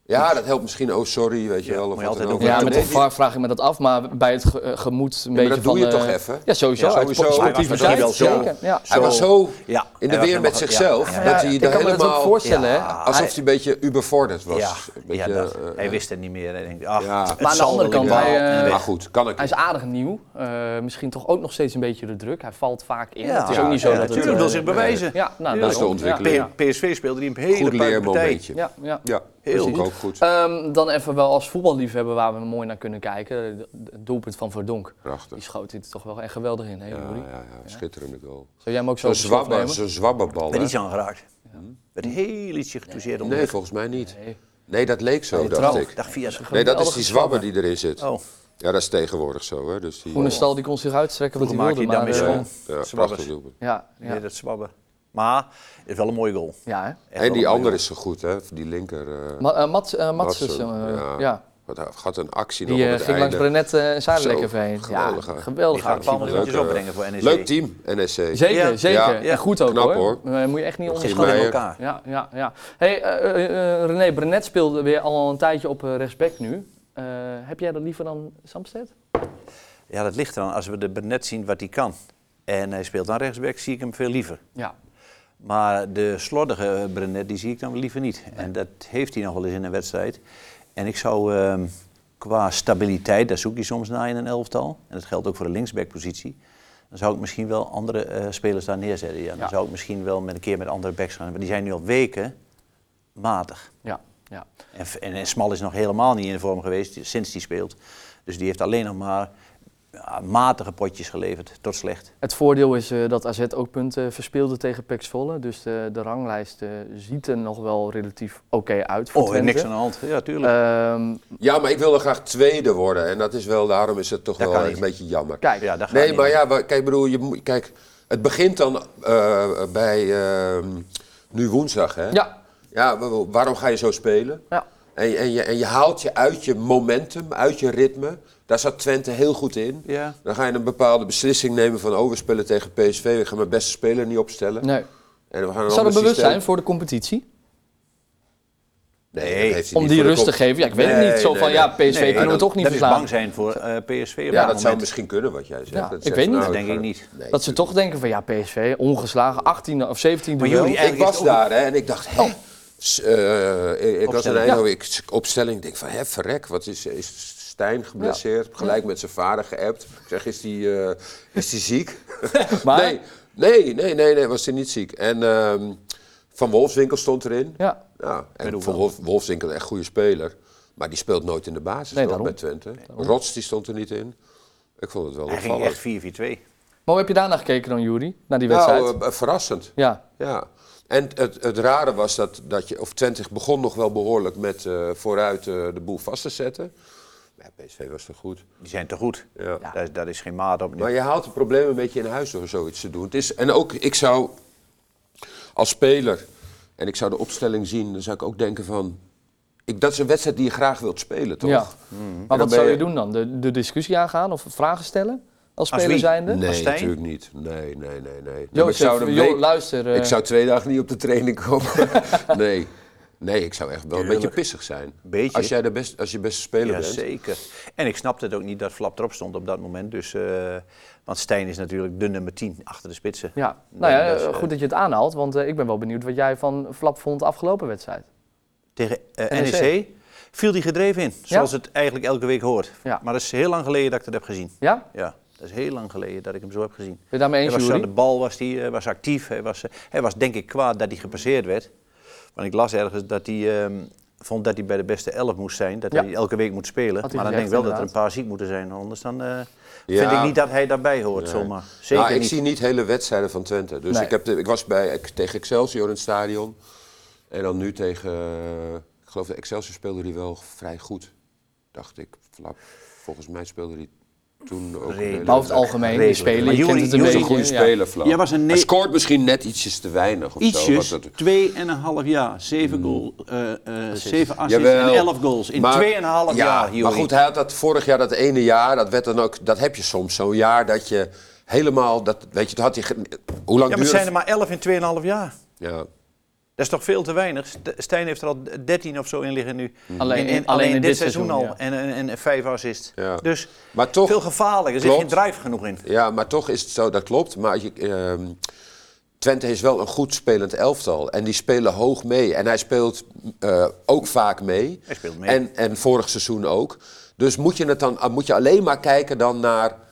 S3: Ja, dat helpt misschien. Oh, sorry, weet je
S2: Ja,
S3: wel.
S2: moet
S3: Of
S2: je
S3: wat dan
S2: altijd
S3: ook.
S2: doen.
S1: Ja,
S2: Ja,
S1: met
S2: dat
S1: de VAR vraag ik me dat af, maar bij het ge- eh, gemoed een beetje
S3: dat doe
S1: van,
S3: je
S1: eh,
S3: toch even?
S1: Ja, sowieso.
S3: Ja,
S1: uit
S3: sowieso.
S1: sportieve
S3: Hij was
S2: misschien
S1: tijd,
S2: wel zo.
S1: zeker, Ja.
S3: Hij
S2: Zo.
S3: was zo
S2: Ja, hij
S3: in de
S2: was
S3: weer met
S2: helemaal-
S3: zichzelf.
S2: ja, ja.
S3: Dat hij
S1: ik
S3: daar
S1: kan me dat ook
S3: helemaal.
S1: voorstellen, hè.
S2: Ja.
S3: Alsof hij een beetje überforderd was.
S2: ja,
S3: Een
S2: ja,
S3: beetje,
S2: dat.
S3: eh,
S2: hij wist het niet meer. Hij denkt, ach,
S3: Ja.
S2: het
S1: Maar aan de
S2: zal
S1: andere
S2: wel
S1: kant,
S2: weer
S1: hij,
S2: wel.
S1: eh,
S2: En
S3: maar
S2: weg.
S3: goed, kan ik.
S1: Hij is aardig nieuw. Eh, misschien toch ook nog steeds een beetje de druk. Hij valt vaak in.
S2: Ja,
S1: het is
S2: ja,
S1: ook niet zo
S2: ja,
S1: dat
S2: natuurlijk
S1: het...
S2: wil
S1: eh,
S2: zich bewijzen.
S1: Ja, nou,
S3: Dat is de
S1: daarom.
S3: ontwikkeling.
S1: Ja,
S2: P- PSV speelde die een hele
S3: eh, Goed
S2: puinpartij.
S3: leermomentje.
S1: ja, ja.
S3: Ja,
S2: Heel
S3: vind ik
S2: goed.
S3: ook goed.
S1: Ehm, dan even wel als voetballiefhebber waar we mooi naar kunnen kijken. De- de- Het doelpunt van Verdonk. Die
S3: Prachtig.
S1: schoot dit toch wel echt geweldig in, hè,
S3: Ja,
S1: Joeri?
S3: ja, ja, schitterende goal.
S1: Zou jij hem ook zo
S3: Zo'n
S1: op de slot
S3: zwabber,
S1: nemen?
S3: zo'n zwabberbal.
S2: Werd
S3: hè?
S2: niet aangeraakt. Werd heel ietsje getoucheerd om
S3: Nee, volgens mij niet.
S1: Nee.
S3: Nee, dat leek zo, dacht
S2: Trouw,
S3: ik.
S2: dag via de
S3: Nee, dat is
S1: Geweldige
S3: die zwabber die erin zit.
S2: Oh.
S3: Ja, dat is tegenwoordig zo, hè. Dus die,
S1: Groenestal die kon zich uitstrekken wat hij
S2: Vroeger
S1: wilde, maar...
S2: maakte hij
S1: eh,
S2: daarmee
S3: Ja, ja,
S2: Zwabbers.
S3: prachtig doelpunt.
S1: ja, ja,
S2: Nee, dat zwabben. Maar het is wel een mooie goal.
S1: ja, hè.
S2: Echt
S3: En
S2: wel een
S3: die
S2: mooie
S3: andere is zo goed, hè? Die linker. eh,
S1: Ma eh, Mats, eh, Matsen,
S3: Matsen.
S1: eh,
S3: ja.
S1: ja.
S3: Wat hij had een actie
S1: Die
S3: nog op
S1: eh,
S3: het
S1: ging langs
S3: einde.
S1: Brenet eh, en Zuidelijk
S3: Zo,
S1: even heen. Ja,
S3: geweldige.
S1: geweldige
S2: Die gaat
S1: actie. man.
S2: allemaal weer. Eventjes
S3: eh,
S2: opbrengen voor E NEC.
S3: Leuk team, NSC.
S1: Zeker,
S2: Ja.
S1: zeker.
S2: Ja, ja.
S1: En goed ook
S3: Knap,
S1: hoor.
S3: hoor.
S1: Eh, moet je echt niet
S3: Geen
S1: onderschatten.
S2: Gewoon in
S3: Meijer.
S2: elkaar.
S1: Ja, ja, ja. Hey, eh, eh, eh, René, Brenet speelde weer al een tijdje op eh, rechtsback nu. Eh, heb jij dat liever dan Samsted?
S2: Ja, dat ligt eraan. Als we de Benet zien wat hij kan. En hij speelt aan rechtsback, zie ik hem veel liever.
S1: Ja.
S2: Maar de slordige eh, Brenet, die zie ik dan liever niet. En dat heeft hij nog wel eens in een wedstrijd. En ik zou ehm, qua stabiliteit, daar zoek je soms naar in een elftal. En dat geldt ook voor de linksbackpositie. Dan zou ik misschien wel andere eh, spelers daar neerzetten. Ja. Dan
S1: Ja.
S2: zou ik misschien wel met een keer met andere backs gaan. Want die zijn nu al weken matig.
S1: Ja, ja.
S2: En, en, en Smal is nog helemaal niet in de vorm geweest die- sinds die speelt. Dus die heeft alleen nog maar ja, matige potjes geleverd, tot slecht.
S1: Het voordeel is eh, dat AZ ook punten verspeelde tegen PEC Zwolle. Dus de, de ranglijst eh, ziet er nog wel relatief oké uit voor
S2: Oh, en
S1: Twente.
S2: niks aan de hand. Ja, tuurlijk.
S1: Ehm,
S3: Ja, maar ik wilde graag tweede worden. En dat is wel, daarom is het toch
S2: Dat
S3: wel
S2: kan
S3: een
S2: niet.
S3: beetje jammer.
S1: kijk,
S2: ja, dat gaat
S3: Nee,
S2: niet.
S3: maar ja, maar, kijk, bedoel, je moet, kijk, Het begint dan eh, bij eh, nu woensdag, hè?
S1: Ja.
S3: Ja, wa- wa- waarom ga je zo spelen?
S1: Ja.
S3: En, je- en, je, en je haalt je uit je momentum, uit je ritme. Daar zat Twente heel goed in.
S2: Ja.
S3: Dan ga je een bepaalde beslissing nemen van... oh, we spelen tegen PSV, we gaan mijn beste speler niet opstellen.
S1: Nee.
S3: En we gaan een
S1: Zou
S3: ander
S1: dat bewust
S3: systeem-
S1: zijn voor de competitie?
S3: Nee, dat heeft hij
S1: Om
S3: niet
S1: die
S3: voor de
S1: rust te
S3: kop.
S1: geven? Ja, ik weet het
S3: Nee,
S1: niet. Zo
S3: nee,
S1: van,
S3: nee.
S1: ja, PSV
S2: Nee,
S1: Dus kunnen we
S2: dat-
S1: toch niet
S2: dat
S1: verslaan.
S2: is bang zijn voor eh, PSV op
S3: Ja,
S2: dat
S3: dat zou
S2: moment.
S3: misschien kunnen wat jij zegt.
S1: Ja, ik
S3: zegt
S1: weet
S3: van,
S1: niet.
S3: nou,
S2: Dat denk
S3: we
S2: ik
S3: gaan-
S2: niet.
S3: Nee,
S1: Dat ze
S3: tuurlijk.
S1: toch denken van, ja, PSV, ongeslagen, 18 of 17
S2: Maar
S1: duel.
S2: jullie-
S3: Ik
S2: Eigenlijk is
S3: was
S2: het ook-
S3: daar hè, en ik dacht,
S1: Oh.
S3: hè? S- eh, ik- ik was in
S2: Opstelling.
S3: Eindhoven, ik opstelling, ik denk van, hè, verrek, wat is, is Stijn geblesseerd? Gelijk met zijn vader geappt. Ik zeg, is die, eh, is die ziek?
S1: Maar-
S3: Nee, nee, nee, nee, nee, was hij niet ziek. En ehm, Van Wolfswinkel stond erin.
S1: Ja.
S3: Ja, en
S2: hoeveel?
S3: Van Wolf, Wolfswinkel, echt goede speler. Maar die speelt nooit in de basis
S1: Nee,
S3: toch,
S1: daarom.
S3: bij Twente. Rots, die stond er niet in. Ik vond het wel
S2: Hij ging
S3: opvallend.
S2: echt 4-4-2.
S1: Maar hoe heb je daarna gekeken dan, Juri? Naar die wedstrijd?
S3: Nou, eh, verrassend.
S1: ja.
S3: Ja, en het, het rare was dat, dat je, of Twente begon nog wel behoorlijk met eh, vooruit eh, de boel vast te zetten. Maar ja, PSV was toch goed.
S2: Die zijn te goed.
S3: Ja.
S2: Daar, is- daar is geen maat op nu.
S3: Maar je haalt het probleem een beetje in huis door zoiets te doen. Het is, en ook, ik zou als speler, en ik zou de opstelling zien, dan zou ik ook denken van... Ik, dat is een wedstrijd die je graag wilt spelen, toch?
S1: ja. Maar
S3: Hmm. ben
S1: wat zou je
S3: je-
S1: doen dan? De, de discussie aangaan of vragen stellen? Als
S2: Als
S1: speler
S2: wie?
S1: zijnde?
S3: Nee,
S2: Stijn?
S3: natuurlijk niet. Nee, nee, nee, nee. nee. maar
S1: Jozef,
S3: ik zou een
S1: joh,
S3: week-
S1: luister. eh,
S3: Ik zou twee dagen niet op de training komen. nee. nee, ik zou echt wel een beetje pissig zijn.
S2: Beetje.
S3: Als jij de best, als je beste speler
S2: Ja,
S3: bent.
S2: zeker. En ik snapte het ook niet dat Flap erop stond op dat moment. Dus, eh, want Stijn is natuurlijk de nummer 10 achter de spitsen.
S1: Ja, nou ja,
S2: Dat is,
S1: eh,
S2: eh,
S1: goed dat je het aanhaalt, want eh, ik ben wel benieuwd wat jij van Flap vond afgelopen wedstrijd.
S2: Tegen eh,
S1: NEC.
S2: NEC. viel die gedreven in, zoals het eigenlijk elke week hoort.
S1: Ja.
S2: Maar dat is heel lang geleden dat ik dat heb gezien.
S1: Ja? Ben
S2: Ja, dat is heel lang geleden dat ik hem zo heb gezien.
S1: je daarmee
S2: Hij
S1: eens,
S2: was aan de
S1: Juri?
S2: bal, was, die, eh, was actief. Hij was, eh, hij was denk ik kwaad dat hij gepasseerd werd. Want ik las ergens dat hij ehm, vond dat hij bij de beste elf moest zijn. Dat
S1: Ja.
S2: hij elke week moet spelen.
S1: Had hij
S2: maar dan
S1: gezegd,
S2: denk ik wel dat er
S1: inderdaad.
S2: een paar ziek moeten zijn. Anders dan eh,
S3: Ja.
S2: vind ik niet dat hij daarbij hoort zomaar. Zeker
S3: nou, ik
S2: niet.
S3: zie niet hele wedstrijden van Twente. Dus
S1: Nee.
S3: ik, heb de- ik was bij, ik- tegen Excelsior in het stadion. En dan nu tegen... eh, ik geloof dat Excelsior speelde die wel vrij goed. Dacht ik. Flap. Volgens mij speelde die toen ook... een
S2: Redelijk.
S3: hele-
S1: Maar over het algemeen, die
S2: Redelijk.
S1: spelen,
S2: Maar
S1: je kent
S2: Juri-
S1: het een
S2: Juri is
S1: beetje.
S2: een
S3: goede
S1: ja.
S3: speler, Flap.
S2: Jij was een
S3: Hij
S2: ne-
S3: scoort misschien net ietsjes te weinig of
S2: Ietsjes,
S3: zo. wat dat-
S2: 2,5 jaar. 7 goal, eh, eh, 7 assists
S3: Jawel.
S2: en 11 goals. In 2,5
S3: Maar-
S2: jaar,
S3: ja,
S2: Juri.
S3: Maar goed, hij had dat vorig jaar, dat ene jaar, dat, werd dan ook, dat heb je soms zo'n jaar dat je helemaal, dat, weet je, toen had hij, ge- hoe lang
S2: ja, maar
S3: duurde
S2: het zijn er maar 11 in 2,5 jaar.
S3: Ja.
S2: Dat is toch veel te weinig? St- Stijn heeft er al 13 of zo in liggen nu.
S3: Hm.
S1: Alleen- alleen in dit seizoen,
S2: al.
S1: ja.
S2: En, en, en, en vijf assists.
S3: Ja.
S2: Dus
S3: Maar toch-
S2: veel gevaarlijker. Er zit geen
S3: Klopt.
S2: drive genoeg in.
S3: ja, maar toch is het zo, dat klopt, maar je, ehm, Twente is wel een goed spelend elftal en die spelen hoog mee en hij speelt eh, ook vaak mee.
S2: Hij speelt mee.
S3: En, en vorig seizoen ook. Dus moet je, het dan, moet je alleen maar kijken dan naar...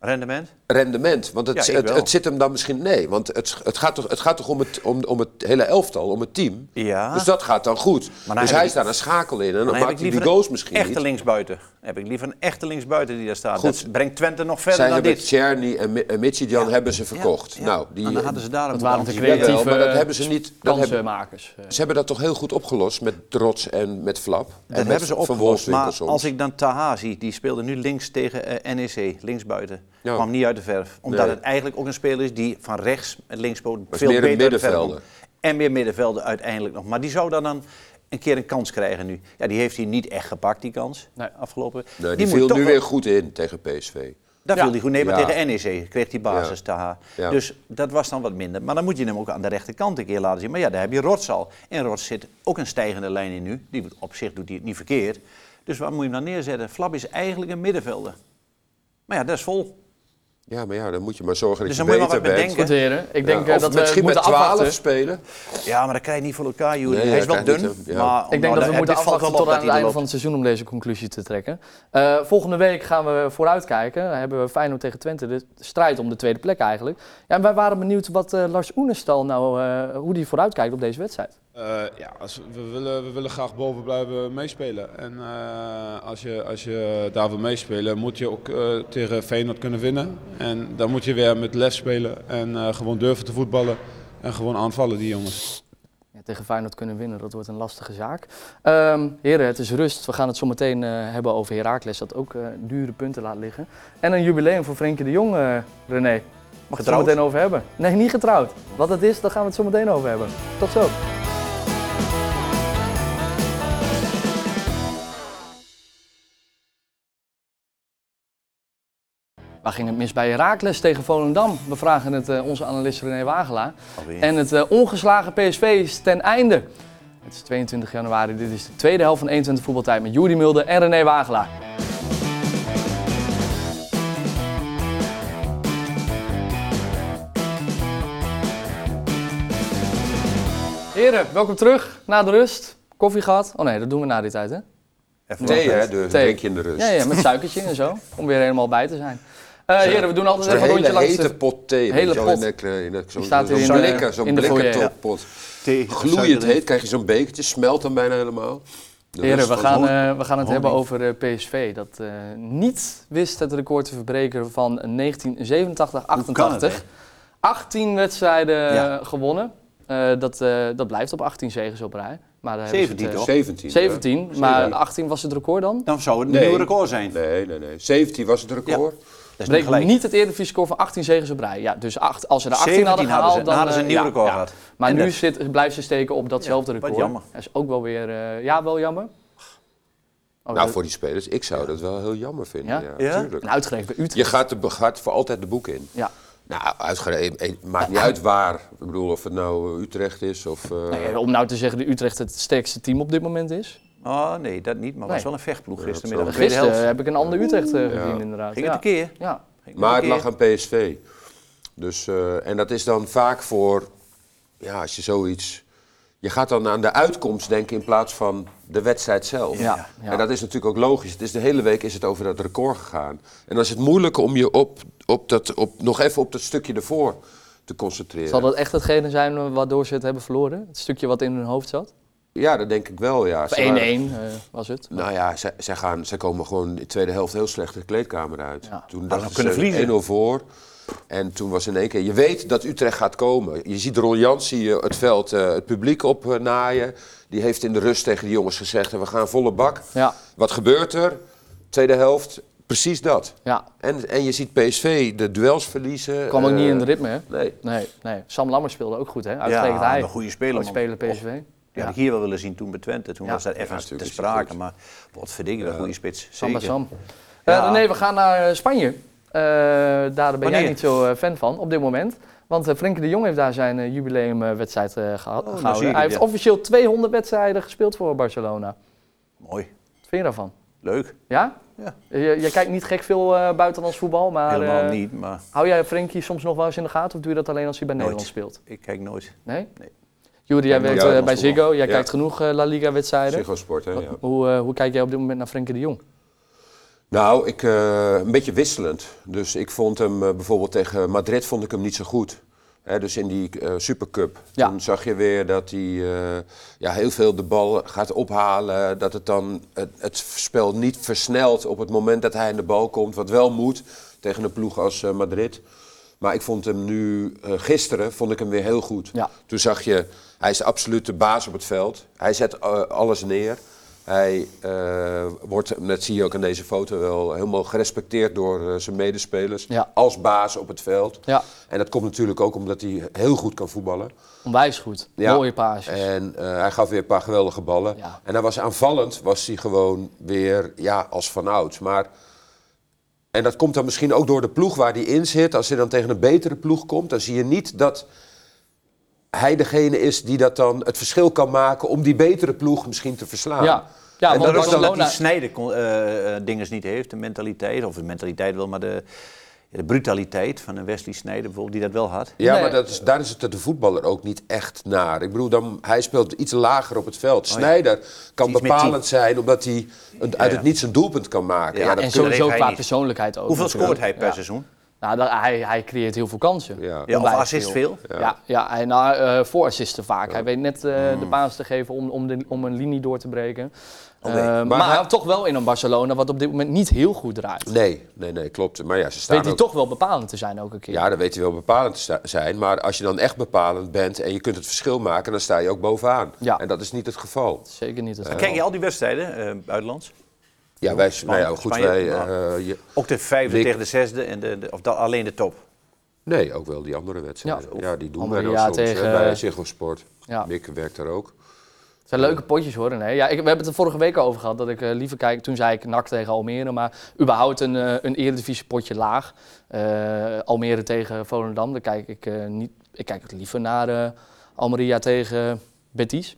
S2: Rendement?
S3: rendement. Want het,
S2: Ja, ik
S3: het,
S2: wel.
S3: het zit hem dan misschien. Nee, want het, het, gaat, toch, het gaat toch om het, om, om het hele elftal, om het team.
S2: Ja.
S3: Dus dat gaat dan goed.
S2: dan
S3: dus
S2: heb
S3: hij
S2: ik-
S3: is daar een schakel in. En dan,
S2: heb
S3: maakt hij die goals misschien
S2: echte
S3: niet.
S2: linksbuiten. Dan heb ik liever een echte linksbuiten die daar staat.
S3: Goed.
S2: Dat brengt Twente nog verder
S3: Zij
S2: dan
S3: hebben
S2: dit.
S3: Tjerni en, Mi- en Michijan hebben ze
S2: Ja,
S3: verkocht.
S2: ja.
S3: Nou, die,
S2: en dan hadden ze daar
S1: Dat
S2: moeten
S1: waren de
S2: anticiperen.
S1: creatieve-
S3: Jawel, maar dat hebben ze niet. Dat hebben,
S1: Kansenmakers. eh.
S3: ze hebben dat toch heel goed opgelost met Rots en met Flap. en
S2: Dat
S3: met
S2: hebben ze
S3: Van
S2: opgelost.
S3: Wolfswinkel
S2: Maar
S3: soms.
S2: als ik dan Taha zie, die speelde nu links tegen eh, NEC, linksbuiten.
S3: Ja.
S2: Kwam niet uit de verf. Omdat
S3: Nee.
S2: het eigenlijk ook een speler is die van rechts met linksboot
S3: is
S2: veel
S3: meer een
S2: beter uit de verf komt.
S3: middenvelder.
S2: En meer middenvelden uiteindelijk nog. Maar die zou dan, dan een keer een kans krijgen nu. Ja, die heeft hij niet echt gepakt, die kans.
S1: Nee.
S2: Afgelopen.
S3: Nee, die,
S2: moet
S3: viel
S2: toch
S3: nu
S2: wel-
S3: weer goed in tegen PSV.
S2: Daar
S1: Ja.
S2: viel hij goed. Nee, maar
S3: Ja.
S2: tegen NEC kreeg hij basis,
S3: Ja.
S2: Taha.
S3: Ja.
S2: Dus dat was dan wat minder. Maar dan moet je hem ook aan de rechterkant een keer laten zien. Maar ja, daar heb je Rots al. En Rots zit ook een stijgende lijn in nu. Die op zich doet hij het niet verkeerd. Dus waar moet je hem dan neerzetten? Flap is eigenlijk een middenvelder. Maar ja, dat is vol.
S3: Ja, maar ja, dan moet je maar zorgen dat
S2: Dus
S3: je
S2: dan moet je
S3: beter
S2: maar wat
S3: bent.
S2: bedenken.
S1: Goed, heren. Ik denk
S3: Ja,
S1: eh,
S3: of
S1: dat we
S3: misschien
S1: moeten
S3: met 12
S1: afwachten.
S3: spelen.
S2: Ja, maar dat krijg je niet voor elkaar, Juri.
S3: Nee,
S2: hij is
S3: dat
S2: wel
S3: krijg
S2: dun.
S3: je niet, hè. Ja.
S2: Maar
S1: Ik denk
S2: nou,
S1: dat we
S2: dit
S1: moeten
S2: valt wel
S1: afwachten
S2: op
S1: tot
S2: dat
S1: aan het
S2: hij er
S1: einde
S2: loopt.
S1: van het seizoen om deze conclusie te trekken. Eh, volgende week gaan we vooruitkijken. Dan hebben we Feyenoord tegen Twente. De strijd om de tweede plek eigenlijk. Ja, en wij waren benieuwd wat eh, Lars Oenestal nou, eh, hoe die vooruitkijkt op deze wedstrijd.
S4: Eh, ja, als, we, willen, we willen graag boven blijven meespelen. En eh, als, je, als je daar wil meespelen, moet je ook eh, tegen Feyenoord kunnen winnen. En dan moet je weer met lef spelen en eh, gewoon durven te voetballen. En gewoon aanvallen, die jongens.
S1: Ja, tegen Feyenoord kunnen winnen, dat wordt een lastige zaak. Ehm, heren, het is rust. We gaan het zo meteen eh, hebben over Heracles, dat ook eh, dure punten laat liggen. En een jubileum voor Frenkie de Jong, eh, René. Mag ik het zo
S2: Getrouwd?
S1: meteen over hebben? Nee, niet getrouwd. Wat het is, daar gaan we het zo meteen over hebben. Tot zo. Waar ging het mis bij Heracles tegen Volendam? We vragen het eh, onze analist René Wagelaar.
S2: Alweer.
S1: En het eh, ongeslagen PSV is ten einde. Het is 22 januari, dit is de tweede helft van 21 voetbaltijd met Juri Mulder en René Wagelaar. Heren, welkom terug na de rust. Koffie gehad. Oh nee, dat doen we na die tijd hè?
S2: Even
S3: Thee,
S2: wachten.
S3: hè? Dus
S1: Thee.
S3: drink je in de rust.
S1: Ja, ja, met suikertje en zo. Om weer helemaal bij te zijn. Eh heren, we doen altijd
S3: Zo'n
S1: even een
S3: hele
S1: rondje langs
S3: hete
S1: de...
S3: pot thee.
S1: Hele
S3: weet je wel, in
S1: pot.
S3: de- in de- Zo'n
S1: staat hier
S3: zo'n
S1: in de-
S3: blikker, zo'n
S1: in de
S3: blikker
S1: foyer.
S3: toppot.
S2: Thee,
S3: eh, Gloeiend heet, krijg je zo'n bekertje, smelt hem bijna helemaal. De
S1: Heren,
S3: rust
S1: we
S3: van
S1: gaan,
S3: zo'n-
S1: eh, we gaan het hebben over eh, PSV. Dat eh, niet wist het record te verbreken van 1987-88.
S2: kan het, hè?
S1: 18 wedstrijden
S2: Ja.
S1: eh, gewonnen. Eh, dat, eh, dat blijft op 18 zegens op rij. Maar daar hebben ze het,
S2: 17
S1: eh,
S2: toch?
S3: 17. hè?
S1: 17, maar 18 was het record dan?
S2: Dan zou het een
S3: Nee.
S2: nieuw record zijn.
S3: Nee, nee, nee. 17 was het record.
S2: Dat is niet
S1: Breekt
S2: gelijk.
S1: niet het Eredivisie-score van 18 zegens op rij. Ja, dus acht, als ze er 18 hadden
S2: 17 hadden
S1: gehaald,
S2: ze, dan hadden ze
S1: eh,
S2: een nieuw
S1: ja,
S2: record
S1: ja.
S2: gehad.
S1: Maar
S2: En
S1: nu
S2: dat-
S1: zit, blijft ze steken op datzelfde
S2: wat
S1: record.
S2: jammer.
S1: Dat is ook wel weer, eh, ja, wel jammer. Oh,
S3: Nou,
S1: dat-
S3: voor die spelers, ik zou dat wel heel jammer vinden.
S1: Ja?
S3: Ja,
S2: Ja?
S3: tuurlijk.
S1: en uitgerekend bij
S3: Je
S1: Utrecht.
S3: gaat, de, gaat voor altijd de boeken in.
S1: Ja. Nou,
S3: Nou, uitgerekend, maakt niet uit waar. Ik bedoel, of het nou eh, Utrecht is of... eh,
S1: Nou ja, om nou te zeggen dat Utrecht het sterkste team op dit moment is.
S2: Oh nee, dat niet. Maar het
S1: Nee.
S2: was wel een vechtploeg
S3: dat
S2: gistermiddag.
S3: zou-
S2: de tweede
S1: Gisteren
S2: helft.
S1: heb ik een ander Utrecht eh, gezien inderdaad.
S2: Ging
S1: ja.
S2: het een keer?
S1: Ja.
S2: Ging
S3: Maar het
S2: een keer?
S3: lag aan PSV. Dus, eh, en dat is dan vaak voor, ja, als je zoiets. Je gaat dan aan de uitkomst denken in plaats van de wedstrijd zelf.
S1: Ja, ja.
S3: En dat is natuurlijk ook logisch. Het is de hele week is het over dat record gegaan. En dan is het moeilijk om je op, op dat, op, nog even op dat stukje ervoor te concentreren.
S1: Zal dat echt hetgene zijn eh, waardoor ze het hebben verloren? Het stukje wat in hun hoofd zat?
S3: Ja, dat denk ik wel. Ja.
S1: Of 1-1
S3: Ze waren-
S1: eh, was het.
S3: Nou ja, zij, zij, gaan, zij komen gewoon in de tweede helft heel slecht de kleedkamer uit.
S1: Ja.
S3: Toen
S2: we
S3: dachten
S2: kunnen
S3: ze
S2: verliezen.
S3: 1-0 voor. En toen was in één keer... Je weet dat Utrecht gaat komen. Je ziet Ron Jansen eh, het veld, eh, het publiek op eh, naaien. Die heeft in de rust tegen die jongens gezegd... we gaan volle bak.
S1: Ja.
S3: Wat gebeurt er? Tweede helft, precies dat.
S1: Ja,
S3: En, en je ziet PSV de duels verliezen.
S1: kwam ook
S3: eh,
S1: niet in het ritme hè?
S3: Nee.
S1: Nee, nee. Sam Lammers speelde ook goed hè? Uitgerekend
S2: Ja,
S1: hij.
S2: een goede speler,
S1: Goed
S2: man.
S1: speler PSV.
S2: Die had ik hier wel willen zien toen bij Twente. Toen
S1: Ja.
S2: was dat
S3: Ja,
S2: even
S3: natuurlijk
S2: te
S3: is hij
S2: sprake.
S3: goed.
S2: Maar wat verdediger, een goede spits.
S1: Samba
S2: Zeker.
S1: Sam.
S2: Ja.
S1: nee, we gaan naar eh, Spanje. Eh, daar ben jij
S2: Wanneer?
S1: niet zo eh, fan van op dit moment. Want eh Frenkie de Jong heeft daar zijn eh, jubileumwedstrijd eh, geha-
S2: nou
S1: gehouden.
S2: zie ik
S1: hij
S2: het,
S1: heeft
S2: ja.
S1: officieel 200 wedstrijden gespeeld voor Barcelona.
S2: Mooi.
S1: Wat vind je daarvan?
S2: Leuk.
S1: Ja?
S2: Ja.
S1: Je, je kijkt niet gek veel eh, buitenlands voetbal, maar
S2: Helemaal
S1: eh,
S2: niet, maar
S1: hou jij Frenkie soms nog wel eens in de gaten? Of doe je dat alleen als hij bij
S2: Nooit.
S1: Nederland speelt?
S2: ik kijk nooit.
S1: Nee?
S2: Nee.
S1: Jury, jij
S3: Ja,
S1: werkt eh,
S3: buitenlands
S1: bij
S3: voetbal.
S1: Ziggo. Jij
S3: Ja.
S1: kijkt genoeg eh, La Liga-wedstrijden.
S3: Ziggo Sport, hè? Ja.
S1: Hoe, eh, hoe kijk jij op dit moment naar Frenkie de Jong?
S3: Nou, ik, eh, een beetje wisselend. Dus ik vond hem eh, bijvoorbeeld tegen Madrid vond ik hem niet zo goed. Hè, dus in die eh, Supercup.
S1: Ja.
S3: Toen zag je weer dat hij eh, ja, heel veel de bal gaat ophalen. Dat het dan het, het spel niet versnelt op het moment dat hij aan de bal komt. Wat wel moet tegen een ploeg als eh, Madrid. Maar ik vond hem nu, eh, gisteren, vond ik hem weer heel goed.
S1: Ja.
S3: Toen zag je, hij is absoluut de baas op het veld. Hij zet eh, alles neer. Hij eh, wordt, dat zie je ook in deze foto wel, helemaal gerespecteerd door eh, zijn medespelers.
S1: Ja.
S3: Als baas op het veld.
S1: Ja.
S3: En dat komt natuurlijk ook omdat hij heel goed kan voetballen.
S1: Onwijs goed.
S3: Ja.
S1: Mooie paasjes.
S3: En eh, hij gaf weer een paar geweldige ballen.
S1: Ja.
S3: En hij was aanvallend, was hij gewoon weer ja, als vanouds. Maar, en dat komt dan misschien ook door de ploeg waar hij in zit. Als hij dan tegen een betere ploeg komt, dan zie je niet dat hij degene is die dat dan het verschil kan maken om die betere ploeg misschien te verslaan.
S1: Ja. Ja,
S3: en
S1: want
S3: dat is dan
S2: Dat
S1: Barcelona-
S2: die snijden eh eh, dinges niet heeft, de mentaliteit. Of de mentaliteit wel, maar de, de brutaliteit van een Wesley Snijder bijvoorbeeld, die dat wel had.
S3: Ja,
S1: Nee.
S3: maar dat is, daar is het de voetballer ook niet echt naar. Ik bedoel, dan, hij speelt iets lager op het veld.
S1: Oh
S3: Snijder kan
S2: Iets meer
S3: bepalend zijn omdat hij een- uit
S2: ja.
S3: het niets een doelpunt kan maken.
S2: Ja,
S3: Ja, dat
S1: en
S2: kun- dat
S1: sowieso
S2: heeft hij
S1: qua
S2: niet.
S1: persoonlijkheid ook.
S2: Hoeveel
S1: natuurlijk.
S2: scoort hij per
S1: Ja.
S2: seizoen?
S1: Nou, dat- hij, hij creëert heel veel kansen.
S3: Ja.
S2: Ja, of
S1: Onwijs
S2: assist veel.
S1: Ja, ja, en nou, eh, voorassisten vaak. Hij weet net eh,
S2: Mm.
S1: de paas te geven om, om, de, om een linie door te breken.
S2: Oké.
S1: Eh, maar
S3: Maar hij-
S1: toch wel in een Barcelona wat op dit moment niet heel goed draait.
S3: Nee, nee, nee, klopt. Maar ja, ze staan
S1: Weet hij
S3: ook-
S1: toch wel bepalend te zijn ook een keer.
S3: Ja, dan weet hij wel bepalend te sta- zijn. Maar als je dan echt bepalend bent en je kunt het verschil maken, dan sta je ook bovenaan.
S1: Ja.
S3: En dat is niet het geval.
S1: Zeker niet het geval.
S2: Kijk je al die wedstrijden, eh buitenlands?
S3: Ja, wij, nou ja, goed,
S2: Spanje,
S3: wij,
S2: nou.
S3: eh, je-
S2: Ook de vijfde
S3: Ik-
S2: tegen de zesde, en de, de- of da- alleen de top?
S3: Nee, ook wel die andere wedstrijden.
S1: Ja.
S3: Ja, die doen
S1: Andere
S3: wij dan
S1: jaar
S3: soms
S1: tegen-
S3: tegen... bij Ziggo Sport.
S1: Ja.
S3: Mick werkt daar ook.
S1: Het zijn leuke potjes hoor. Nee, ja, ik, we hebben het er vorige week al over gehad. Dat ik eh, liever kijk. Toen zei ik NAC tegen Almere. Maar überhaupt een, eh een eredivisie potje laag. Eh, Almere tegen Volendam. Daar kijk ik eh, niet. Ik kijk het liever naar eh Almeria tegen Betis.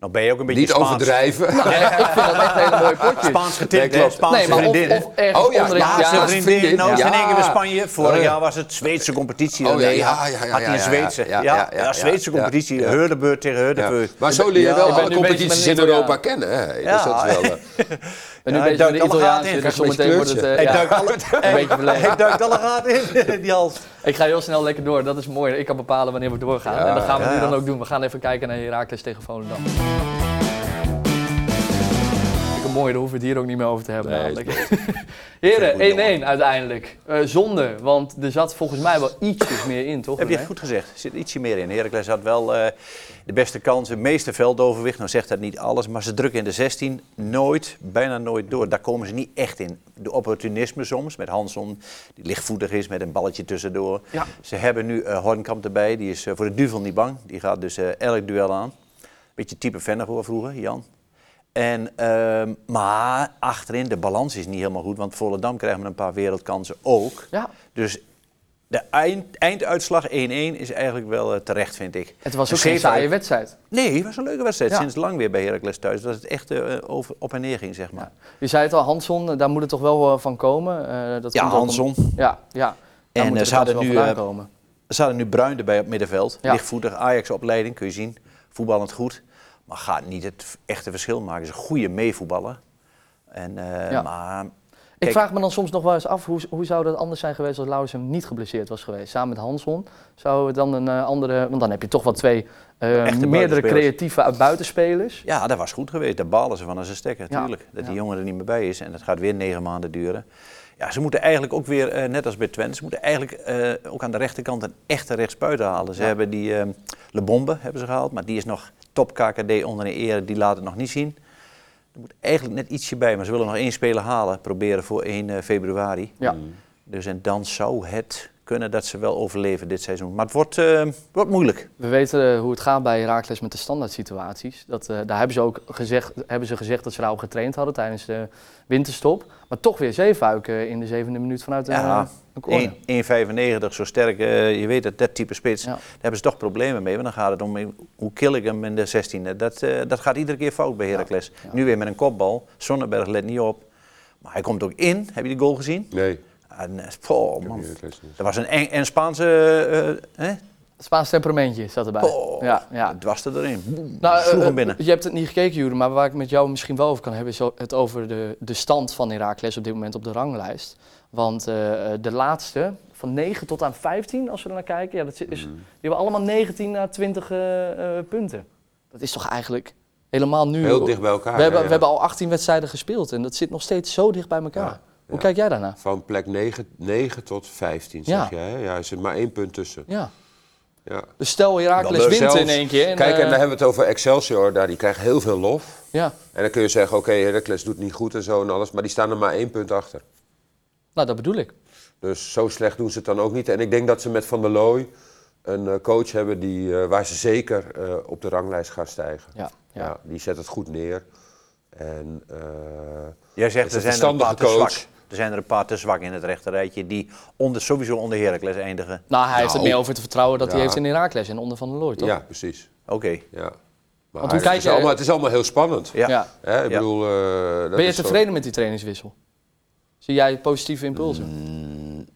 S2: Nou ben je ook een beetje
S3: Niet
S2: Spaans.
S3: overdrijven.
S1: Eh, ik vind dat echt hele mooie potjes.
S2: Spaans getint,
S3: Nee, klopt.
S2: Spaanse
S1: nee, maar
S2: vriendinnen.
S1: of, of ergens
S3: Oh ja,
S1: onderin-
S3: ja,
S2: Spaanse
S3: Spaanse
S1: ja,
S2: vriendin.
S3: vriendin,
S2: Nou, is
S3: ja.
S2: in één keer bij Spanje. Vorig
S3: Oh ja.
S2: jaar was het Zweedse competitie.
S3: Oh ja,
S2: alleen.
S3: ja, ja, ja,
S2: Had hij
S3: ja,
S2: een
S3: ja,
S2: Zweedse.
S3: ja,
S2: Ja,
S3: ja, ja,
S2: ja, Zweedse
S3: ja,
S2: competitie.
S3: ja.
S2: Heurenbeurt tegen
S3: Ja.
S2: Heurenbeurt.
S3: Maar zo leer je
S2: Ja,
S3: wel
S2: ik ben
S3: alle
S1: nu bezig met
S3: competities in
S1: Nederland.
S3: Europa kennen. Hè?
S2: Ja.
S3: Dus dat is wel, eh,
S1: En nu
S2: Ja, hij
S1: bezig met
S2: duikt
S1: een
S2: alle gaten
S1: Italiaantje.
S2: in,
S1: Dus
S3: krijg
S1: zometeen wordt
S3: een
S1: het eh,
S2: Hij
S1: ja,
S2: duikt alle-
S1: een beetje verlegen.
S2: Hij duikt alle gaten in, die hals.
S1: Ik ga heel snel lekker door. Dat is mooi. Ik kan bepalen wanneer we doorgaan.
S3: Ja,
S1: en dat gaan we
S2: ja,
S1: nu
S2: ja.
S1: dan ook doen. We gaan even kijken naar Heracles tegen Volendam. Vind Ik een mooie, daar hoeven we het hier ook niet meer over te hebben.
S3: Nee,
S1: namelijk.
S3: Vind ik
S1: Heren, 1-1
S3: moeilijk.
S1: uiteindelijk. Eh, zonde, want er zat volgens mij wel ietsjes meer in, toch?
S2: Heb je
S1: René?
S2: het goed gezegd. Er zit ietsje meer in. Heracles had wel eh, de beste kansen, het meeste veldoverwicht. Nou zegt dat niet alles, maar ze drukken in de 16 nooit, bijna nooit door. Daar komen ze niet echt in. De opportunisme soms, met Hanson, die lichtvoetig is, met een balletje tussendoor.
S1: Ja.
S2: Ze hebben nu eh, Hornkamp erbij, die is eh, voor de duvel niet bang. Die gaat dus eh, elk duel aan. Beetje type Vennegoor vroeger, Jan. En, ehm, maar achterin, de balans is niet helemaal goed, want Volendam krijgt met een paar wereldkansen ook.
S1: Ja.
S2: Dus de eind, einduitslag 1-1 is eigenlijk wel eh, terecht, vind ik.
S1: Het was
S2: Ze
S1: ook geen
S2: geven
S1: saaie
S2: ook-
S1: wedstrijd.
S2: Nee, het was een leuke wedstrijd.
S1: Ja.
S2: Sinds lang weer bij Heracles thuis. Dat het echt eh, over, op en neer ging, zeg maar.
S1: Je zei het al, Hanson, daar moet het toch wel eh, van komen? Eh, dat
S2: Ja,
S1: komt ook om-
S2: Hanson.
S1: Ja, ja. Daar
S2: En,
S1: moet
S2: eh,
S1: de
S2: ze hadden
S1: kans wel
S2: nu,
S1: vandaan
S2: eh,
S1: komen.
S2: Er zaten nu Bruin erbij op middenveld.
S1: Ja.
S2: Lichtvoetig, Ajax-opleiding, kun je zien. Voetballend goed. Maar gaat niet het echte verschil maken. Ze is een goede meevoetballer. En, eh,
S1: Ja.
S2: Maar
S1: Ik
S2: Kijk-
S1: vraag me dan soms nog wel eens af, hoe, hoe zou dat anders zijn geweest als Laurens hem niet geblesseerd was geweest? Samen met Hanson zou het dan een eh, andere... Want dan heb je toch wel twee eh, meerdere
S2: buitenspelers.
S1: creatieve buitenspelers.
S2: Ja, dat was goed geweest. Daar balen ze van als een stekker,
S1: Ja,
S2: natuurlijk. Dat die
S1: ja.
S2: jongen er niet meer bij is. En dat gaat weer negen maanden duren. Ja, ze moeten eigenlijk ook weer, eh, net als bij Twente, ze moeten eigenlijk eh, ook aan de rechterkant een echte rechtsbuiten halen. Ze hebben die eh, Le Bombe hebben ze gehaald, maar die is nog top KKD onder de ere. Die laat het nog niet zien. Er moet eigenlijk net ietsje bij, maar ze willen nog één speler halen. Proberen voor 1 eh, februari.
S1: Ja.
S2: Dus en dan zou het kunnen dat ze wel overleven dit seizoen. Maar het wordt, eh, wordt moeilijk.
S1: We weten eh, hoe het gaat bij Herakles met de standaard situaties. Dat, eh, daar hebben ze ook gezegd, hebben ze gezegd dat ze daarop getraind hadden tijdens de winterstop. Maar toch weer Zeefuik eh, in de zevende minuut vanuit een,
S2: Ja.
S1: eh, een corner.
S2: 1,95, zo sterk. eh, je weet dat, dat type spits.
S1: Ja.
S2: Daar hebben ze toch problemen mee. Want dan gaat het om eh, hoe kill ik hem in de 16e. Dat, eh, dat gaat iedere keer fout bij Heracles. Nu weer met een kopbal. Sonnenberg let niet op. Maar hij komt ook in. Heb je die goal gezien?
S3: nee.
S2: En, eh, poh, man.
S3: Heracles niet.
S2: Dat was een eng, en Spaanse. eh, eh, hè?
S1: Spaans temperamentje zat erbij.
S2: Oh,
S1: ja, ja.
S2: Het was er erin. Boem,
S1: Nou,
S2: sloeg
S1: eh,
S2: hem binnen.
S1: eh, Je hebt het niet gekeken, Jure, maar waar ik met jou misschien wel over kan hebben, is o- het over de, de stand van Herakles op dit moment op de ranglijst. Want eh, eh, de laatste, van 9 tot aan 15, als we er naar kijken, ja, dat zit-
S2: Mhm.
S1: is, die hebben allemaal 19 naar 20 eh, eh, punten. Dat is toch eigenlijk helemaal nu.
S3: Heel dicht bij elkaar.
S1: we, hebben,
S3: ja,
S1: we
S3: ja.
S1: hebben al 18 wedstrijden gespeeld en dat zit nog steeds zo dicht bij elkaar.
S3: Ja,
S1: Hoe
S3: ja.
S1: kijk jij daarna?
S3: Van plek 9, tot 15,
S1: Ja.
S3: zeg jij. hè? Ja, er zit maar één punt tussen.
S1: Ja.
S3: Ja.
S1: Dus stel Herakles
S3: Dan
S1: wint
S3: zelfs-
S1: in één keer. En,
S3: Nou, Kijk, en
S1: eh,
S3: dan hebben we het over Excelsior. Daar, die krijgen heel veel lof.
S1: ja.
S3: En dan kun je zeggen, oké, Heracles doet niet goed en zo en alles. Maar die staan er maar één punt achter.
S1: Nou, dat bedoel ik.
S3: Dus zo slecht doen ze het dan ook niet. En ik denk dat ze met Van der Looy een eh, coach hebben die, eh, waar ze zeker eh, op de ranglijst gaan stijgen.
S1: Ja, ja.
S3: Ja. die zet het goed neer. En, eh,
S2: Jij zegt
S3: is
S2: er
S3: een
S2: zijn er een paar te
S3: verstandige coach.
S2: zwak. Er zijn er een paar te zwak in het rechterrijtje die onder, sowieso onder Heracles eindigen.
S1: Nou, hij heeft het
S3: Nou.
S1: meer over het vertrouwen dat hij
S3: Ja.
S1: heeft in Herakles en onder Van der Looy, toch?
S3: ja, precies.
S2: Oké.
S3: Ja. Maar
S1: hoe kijk
S3: het,
S1: je-
S3: is allemaal, het is allemaal heel spannend.
S2: Ja.
S1: Ja.
S3: Hè, ik
S2: Ja.
S3: bedoel, eh, dat
S1: Ben je
S3: is zo-
S1: tevreden met die trainingswissel? Zie jij positieve impulsen?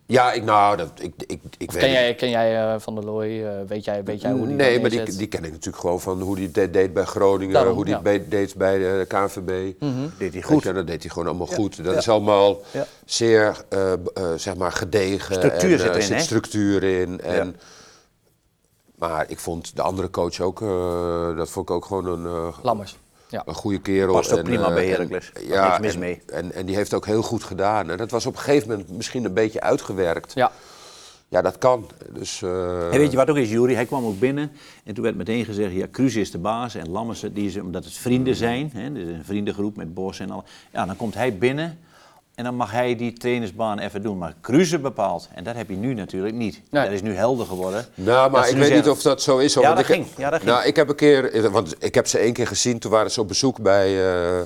S3: Ja, ik, nou, dat, ik, ik, Mm, ik
S1: Ken jij, ken jij eh, Van der Looy? eh, weet, jij, weet jij hoe die
S3: nee,
S1: dat
S3: maar die,
S1: neerzet?
S3: die ken ik natuurlijk gewoon van hoe die het deed bij Groningen,
S1: Daarom,
S3: hoe die het
S1: ja.
S3: be- deed bij de KNVB.
S2: Deed hij
S3: Weet
S2: Mhm. goed.
S3: je, dat deed hij gewoon allemaal goed. Dat is allemaal
S2: Ja.
S3: zeer, eh, b- eh, zeg maar, gedegen.
S2: Structuur
S3: en,
S2: zit
S3: eh,
S2: erin,
S3: zit
S2: hè?
S3: structuur in. En, Maar ik vond de andere coach ook, eh, dat vond ik ook gewoon een, eh,
S1: Lammers. Ja.
S3: een goede kerel.
S2: Past ook prima
S3: eh,
S2: bij
S3: en-
S2: Heracles. Daar
S3: Ja,
S2: niks mis
S3: en,
S2: mee.
S3: En, en die heeft ook heel goed gedaan. En dat was op een gegeven moment misschien een beetje uitgewerkt.
S1: ja.
S3: Ja, dat kan. Dus, eh,
S2: En weet je wat ook is, Jury? Hij kwam ook binnen en toen werd meteen gezegd, ja, Cruz is de baas en
S3: Mm.
S2: Lammers, die is, omdat het vrienden zijn, hè, dit is een vriendengroep met Bos en al. Ja, dan komt hij binnen En dan mag hij die trainersbaan even doen. Maar Kruse bepaalt. En dat heb je nu natuurlijk niet.
S1: Nee.
S2: Dat is nu helder geworden.
S3: Nou,
S2: Dat
S3: maar
S2: ze
S3: ik
S2: nu
S3: weet niet
S2: zeggen-
S3: of dat zo is. hoor,
S2: Ja,
S3: want
S2: dat
S3: ik-
S2: ging. Ja, dat
S3: Nou,
S2: ging.
S3: ik heb een keer, want ik heb ze één keer gezien. Toen waren ze op bezoek bij eh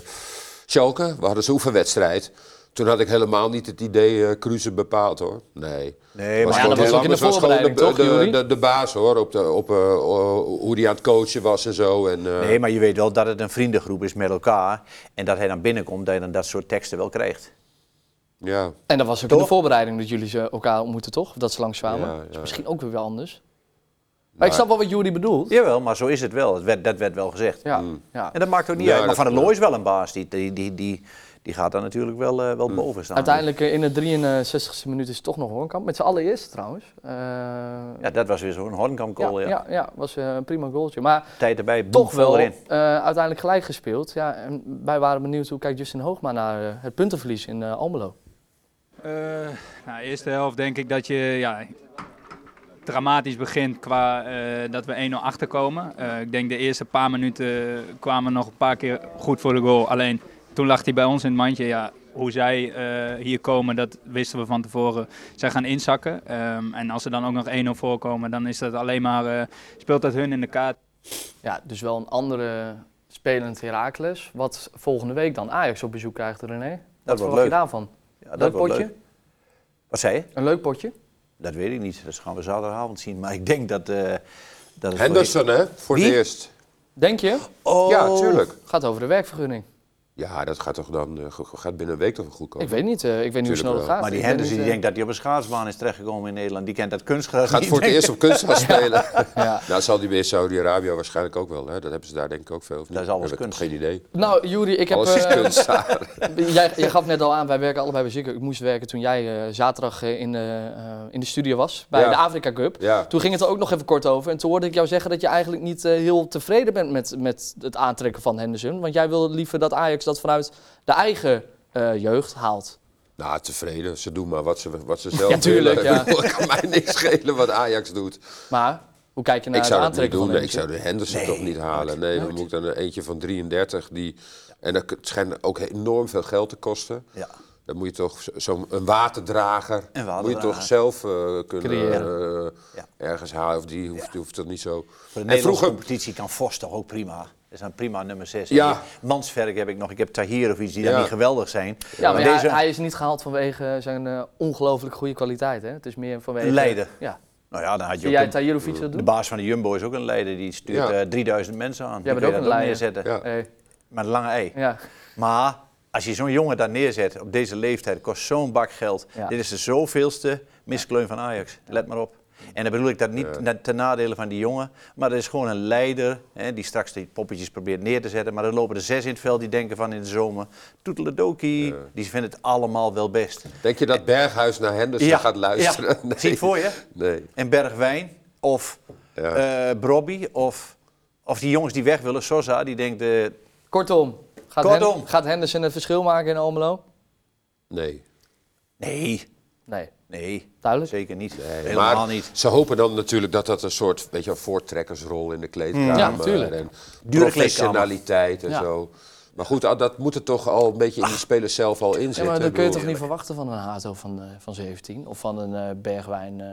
S3: Schalke. We hadden ze oefenwedstrijd. Toen had ik helemaal niet het idee eh Kruse bepaald hoor. Nee.
S2: Nee,
S3: Was
S2: maar
S1: ja, dat
S3: gewoon
S1: was
S3: heel
S1: ook in de
S3: anders. was gewoon
S1: voorbereiding,
S3: de,
S1: toch,
S3: de,
S1: Joeri?
S3: de, de baas hoor, op, de, op eh, hoe die aan het coachen was en zo. En, eh,
S2: Nee, maar je weet wel dat het een vriendengroep is met elkaar. En dat hij dan binnenkomt, dat je dan dat soort teksten wel krijgt.
S3: ja.
S1: En dat was ook in de
S2: Toch?
S1: voorbereiding dat jullie ze elkaar ontmoeten, toch? Dat ze langskwamen.
S3: Ja, ja, Nou,
S1: Dat is
S3: ja.
S1: misschien ook weer wel anders. Maar, ik snap wel wat Jury bedoelt.
S2: Jawel, maar zo is het wel. Het werd, dat werd wel gezegd.
S1: Ja, ja.
S2: En dat maakt ook niet
S3: Ja,
S2: uit. Maar
S3: Mm. dat-
S2: Van der Looy is wel een baas. Die, die, die, die, die gaat daar natuurlijk wel, eh,
S3: Mm.
S2: wel boven staan.
S1: Uiteindelijk eh, in de 63 e minuut is het toch nog Hoornkamp. Met z'n allereerste trouwens. Eh,
S2: Ja, dat was weer zo'n hornkamp
S1: ja,
S2: goal. Ja.
S1: ja, ja, was eh, een prima goaltje. Maar
S2: Tijd erbij, boem,
S1: toch
S2: vol
S1: wel
S2: erin.
S1: eh, uiteindelijk gelijk gespeeld. Ja, en wij waren benieuwd hoe kijkt Justin Hoogma naar eh, het puntenverlies in eh, Almelo.
S5: Eh nou, eerste helft denk ik dat je ja, dramatisch begint qua eh, dat we 1-0 achterkomen. Eh, ik denk de eerste paar minuten eh, kwamen nog een paar keer goed voor de goal. Alleen toen lag hij bij ons in het mandje. Ja, hoe zij eh, hier komen, dat wisten we van tevoren. Zij gaan inzakken. Ehm, en als ze dan ook nog 1-0 voorkomen, dan is dat alleen maar, eh, speelt dat hun in de kaart.
S1: Ja, dus wel een andere spelend Heracles. Wat volgende week dan Ajax op bezoek krijgt, René. Wat
S2: wordt
S1: verwacht je
S2: leuk.
S1: daarvan?
S2: Ja, dat
S1: leuk
S2: wordt
S1: potje?
S2: leuk. Wat zei je?
S1: Een leuk potje?
S2: Dat weet ik niet. Dat gaan we zaterdagavond zien. Maar ik denk dat... eh dat het
S3: Henderson hè, voor
S2: Wie?
S3: het eerst.
S1: Denk je?
S2: Oh,
S3: Ja, tuurlijk.
S1: Gaat over de werkvergunning.
S3: Ja, dat gaat toch dan eh, go- gaat binnen een week toch goed komen?
S1: Ik weet niet, eh, ik weet niet hoe
S3: Tuurlijk
S1: snel het
S3: wel.
S1: gaat.
S2: Maar die
S1: Ik weet
S2: Henderson die
S1: niet, eh,
S2: denkt dat hij op een schaatsbaan is terechtgekomen in Nederland. Die kent dat kunstgras
S3: Gaat
S2: niet,
S3: voor het
S2: denk
S3: eerst
S2: ik.
S3: op kunst gaan spelen.
S1: Ja.
S3: Nou, zal die weer Saudi-Arabië waarschijnlijk ook wel. Hè? Dat hebben ze daar denk ik ook veel. of niet?
S2: Dat is alles
S3: Heb ik
S2: kunst.
S3: Geen idee.
S1: Nou, Juri, ik heb...
S3: Alles is
S1: eh,
S3: kunst daar.
S1: jij, jij gaf net al aan, wij werken allebei bij Zico. Ik moest werken toen jij eh, zaterdag eh, in, de, eh, in de studio was, bij
S3: Ja.
S1: de Afrika Cup.
S3: Ja.
S1: Toen ging het er ook nog even kort over. En toen hoorde ik jou zeggen dat je eigenlijk niet eh, heel tevreden bent met, met het aantrekken van Henderson. Want jij wil liever dat Ajax dat vanuit de eigen eh, jeugd haalt.
S3: Nou, tevreden. Ze doen maar wat ze, wat ze zelf
S1: Ja, tuurlijk,
S3: willen.
S1: ja.
S3: Het kan mij niks schelen wat Ajax doet.
S1: Maar hoe kijk je naar
S3: ik
S1: het
S3: zou dat niet
S1: Nou, aantrekken
S3: doen.
S1: van
S3: Ik
S1: Henderson?
S3: zou de Henderson toch niet halen. Nee, dan moet ik dan een eentje van 33. Die, en dat k- het schijnt ook enorm veel geld te kosten.
S2: Ja.
S3: Dan moet je toch zo- zo'n een waterdrager,
S2: Een
S3: moet je
S2: waterdrager.
S3: toch zelf eh, kunnen
S1: Creëren.
S3: eh,
S2: Ja.
S3: ergens halen. Of die hoeft, hoeft dat niet zo.
S2: Voor de
S3: en
S2: Nederlandse
S3: vroeger,
S2: competitie kan Vos toch ook prima. Dat is een prima nummer 6.
S3: Ja.
S2: Mansverk heb ik nog. Ik heb Tahir of iets die
S3: Ja.
S2: dan niet geweldig zijn.
S1: Ja, maar
S2: Maar
S1: ja,
S2: deze,
S1: hij is niet gehaald vanwege eh, zijn eh, ongelooflijk goede kwaliteit. Hè? Het is meer vanwege...
S2: Leider.
S1: Ja.
S2: Nou ja, dan had je
S1: Zie
S2: ook
S1: jij
S2: een-
S1: Tajirovic dat
S2: de
S1: doen?
S2: baas van de Jumbo is ook een leider. Die stuurt
S3: Ja.
S2: eh, 3000 mensen aan.
S1: Jij
S2: die
S1: bent
S2: kun
S1: ook
S2: je
S1: een
S2: dat
S1: leider.
S2: neerzetten.
S3: Ja.
S1: Hey,
S2: Met een lange ei.
S1: ja.
S2: Maar als je zo'n jongen daar neerzet op deze leeftijd, kost zo'n bak geld.
S1: Ja.
S2: Dit is de zoveelste miskleun van Ajax. Let maar op. En dan bedoel ik dat niet na- ten nadele van die jongen. Maar dat is gewoon een leider hè, die straks die poppetjes probeert neer te zetten. Maar er lopen er zes in het veld die denken van in de zomer. Toeteledokie. Die vinden het allemaal wel best.
S3: denk je dat Berghuis naar Henderson
S2: Ja,
S3: gaat luisteren?
S2: ja. Zie het voor je?
S3: Nee.
S2: En Bergwijn of
S3: Ja.
S2: eh Brobby of, of die jongens die weg willen. Sosa die denkt, eh,
S1: Kortom, gaat,
S2: Kortom.
S1: Hen- gaat Henderson het verschil maken in Almelo?
S3: Nee.
S2: nee,
S1: Nee,
S2: nee,
S1: duidelijk.
S2: zeker niet.
S3: Nee,
S2: Helemaal
S3: maar
S2: niet.
S3: Ze hopen dan natuurlijk dat dat een soort weet je, wel, voortrekkersrol in de kleedkamer
S1: Ja, natuurlijk.
S3: en
S2: kleedkamer.
S3: professionaliteit en
S1: Ja.
S3: zo. Maar goed, al dat moet er toch al een beetje in die spelers zelf al in
S1: Ja,
S3: zitten.
S1: maar dat
S3: Ik
S1: kun je
S3: bedoel-
S1: toch niet verwachten van een Hato van, eh, van 17 of van een eh, Bergwijn. eh.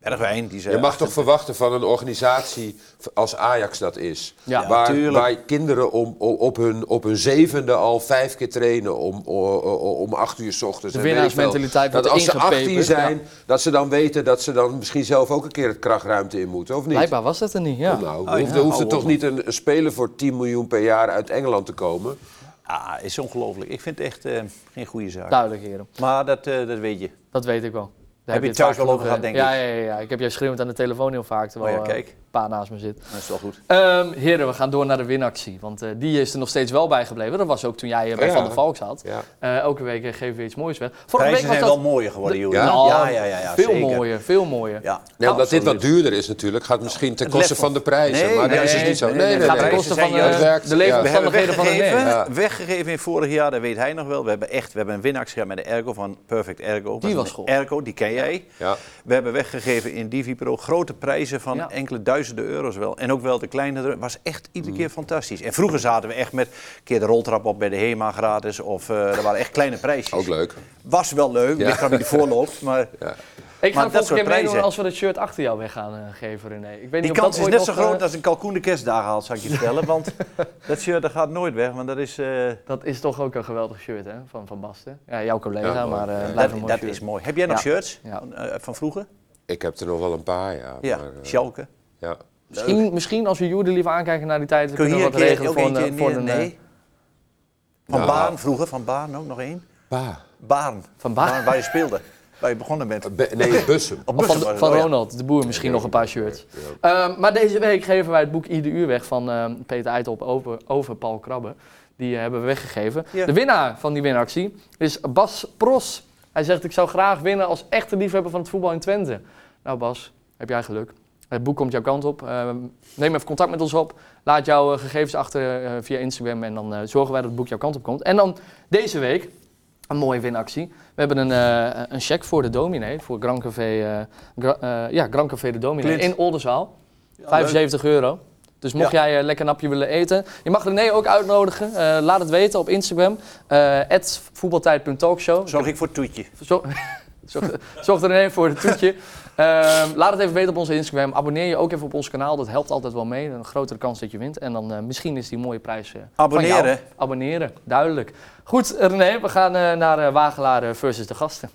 S2: Bergwijn, die zei...
S3: Je mag toch verwachten van een organisatie als Ajax dat is.
S1: Ja. Ja,
S3: waar,
S2: tuurlijk.
S3: waar kinderen om, o- op, hun, op hun zevende al vijf keer trainen om, o- o- om acht uur 's ochtends.
S1: De
S3: en weet ik veel.
S1: winnaarsmentaliteit
S3: Dat
S1: wordt
S3: als ze 18
S1: ingepeperd,
S3: zijn, dat ze dan weten dat ze dan misschien zelf ook een keer het krachtruimte in moeten, of niet?
S1: Blijkbaar was dat er niet, ja.
S3: Nou,
S2: Ah,
S3: hoeft,
S2: ja.
S3: hoeft er
S2: Oh,
S3: toch
S2: oh.
S3: niet een, een speler voor 10 miljoen per jaar uit Engeland te komen?
S2: Ah, is ongelooflijk. Ik vind het echt eh, geen goede zaak.
S1: Duidelijk, heren.
S2: Maar dat, eh, dat weet je.
S1: Dat weet ik wel. Daar
S2: Heb je
S1: het
S2: het thuis
S1: vaak
S2: wel
S1: genoeg,
S2: over gehad,
S1: eh,
S2: denk
S1: ja, Ja, ja, ja. Ik heb jou schreeuwend aan de telefoon heel vaak, terwijl
S2: Oh ja,
S1: eh,
S2: kijk.
S1: een paar naast me zit.
S2: Dat is wel goed.
S1: Ehm heren, we gaan door naar de winactie. Want eh, die is er nog steeds wel bij gebleven. Dat was ook toen jij
S2: Oh
S1: eh, bij
S3: Ja.
S1: Van der Valk zat.
S3: Ja.
S1: Eh, elke week eh, geven we iets moois weg. Vorige
S2: Prijzen
S1: week was
S2: zijn
S1: dat
S2: wel mooier geworden, Joeri.
S1: Ja,
S2: Ja, ja, ja. ja,
S1: veel
S2: zeker.
S1: mooier, veel mooier. Nou,
S2: Ja.
S3: Nee, omdat dit wat
S2: absoluut.
S3: duurder is natuurlijk, gaat misschien ten koste
S2: lef-
S3: van de prijzen.
S2: Nee,
S3: maar dat is dus
S2: nee,
S3: niet zo.
S2: nee,
S3: Nee, nee,
S1: Het
S3: nee.
S1: gaat ten
S2: nee.
S1: koste
S2: Ze zijn
S1: van
S2: juist-
S1: eh, de
S3: Ja.
S2: We hebben
S1: levensomstandigheden van een
S2: weggegeven,
S3: Ja.
S2: weggegeven in vorig jaar, dat weet hij nog wel. We hebben echt we hebben een winactie gehad met de Ergo van Perfect Ergo.
S1: Die
S2: Dat
S1: was
S2: een
S1: goed.
S2: Ergo, die ken jij.
S3: Ja.
S2: We hebben weggegeven in DiviPro grote prijzen van
S1: Ja.
S2: enkele duizenden euro's wel. En ook wel de kleinere. was echt iedere
S1: Mm.
S2: keer fantastisch. En vroeger zaten we echt met een keer de roltrap op bij de HEMA gratis. Of eh er waren echt kleine prijsjes.
S3: Ook leuk.
S2: Was wel leuk,
S3: Ja.
S2: ligt aan wie ervoor loopt. Maar
S1: Ik
S2: Maar
S1: ga de
S2: dat
S1: volgende
S2: soort
S1: keer meedoen
S2: prijzen.
S1: als we dat shirt achter jou weg gaan eh, geven, René. Ik weet
S2: die
S1: niet of
S2: kans
S1: dat
S2: is
S1: ooit
S2: net zo
S1: nog, eh,
S2: groot als een kalkoen de kerstdagen haalt, zou ik je vertellen. Want dat shirt dat gaat nooit weg, want dat is... eh,
S1: Dat is toch ook een geweldig shirt, hè? Van Van Basten. Ja, jouw collega,
S3: Ja, mooi.
S1: maar eh
S3: Ja.
S1: blijf een
S2: dat
S1: mooi
S2: dat
S1: shirt.
S2: is mooi. Heb jij nog
S1: Ja.
S2: shirts
S1: Ja.
S2: van, eh, van vroeger?
S3: Ik heb er nog wel een paar, ja.
S2: Ja,
S3: maar, eh,
S2: Schalke.
S3: ja.
S1: Misschien, misschien als we Joerde liever aankijken naar die tijd, we
S2: Kun je
S1: kunnen
S2: hier
S1: we
S2: een
S1: wat
S2: keer
S1: regelen voor
S2: ook
S1: een...
S2: eentje
S1: eh, Voor
S2: neer-
S1: een eh,
S2: Nee. Van
S3: Nou.
S2: Baarn vroeger, van Baarn ook nog één.
S3: Pa.
S2: Baarn.
S1: Van Baarn?
S2: waar je speelde. Waar je begonnen bent.
S3: Be- nee, bussen.
S2: Op
S1: of
S2: Bussen
S1: van,
S2: was
S1: van
S2: het, oh ja.
S1: Ronald, de boer, misschien nog een paar shirts. Ehm, maar deze week geven wij het boek Ieder Uur weg van ehm, Peter Eitop over, over Paul Krabbe. Die eh, hebben we weggegeven.
S2: Ja.
S1: De winnaar van die winactie is Bas Pros. Hij zegt, ik zou graag winnen als echte liefhebber van het voetbal in Twente. Nou Bas, heb jij geluk. Het boek komt jouw kant op. Ehm, neem even contact met ons op. Laat jouw eh, gegevens achter eh, via Instagram en dan eh, zorgen wij dat het boek jouw kant op komt. En dan deze week, een mooie winactie. We hebben een, eh, een cheque voor de dominee, voor Grand Café, eh, Gra- eh, ja, Grand Café de dominee
S2: Clint.
S1: in Oldenzaal.
S2: Ja,
S1: 75 euro. Dus mocht jij eh, lekker napje willen eten. Je mag René ook uitnodigen. Eh, laat het weten op Instagram. eh voetbaltijd.talkshow.
S2: leuk. Zorg ik voor het toetje.
S1: Zorg, zorg, zorg er even voor het toetje. Ehm, laat het even weten op onze Instagram. Abonneer je ook even op ons kanaal. Dat helpt altijd wel mee. Een grotere kans dat je wint. En dan eh, misschien is die mooie prijs eh,
S2: Abonneren.
S1: Van jou. Abonneren, duidelijk. Goed, René, we gaan eh, naar eh, Wagelaar eh, versus de gasten.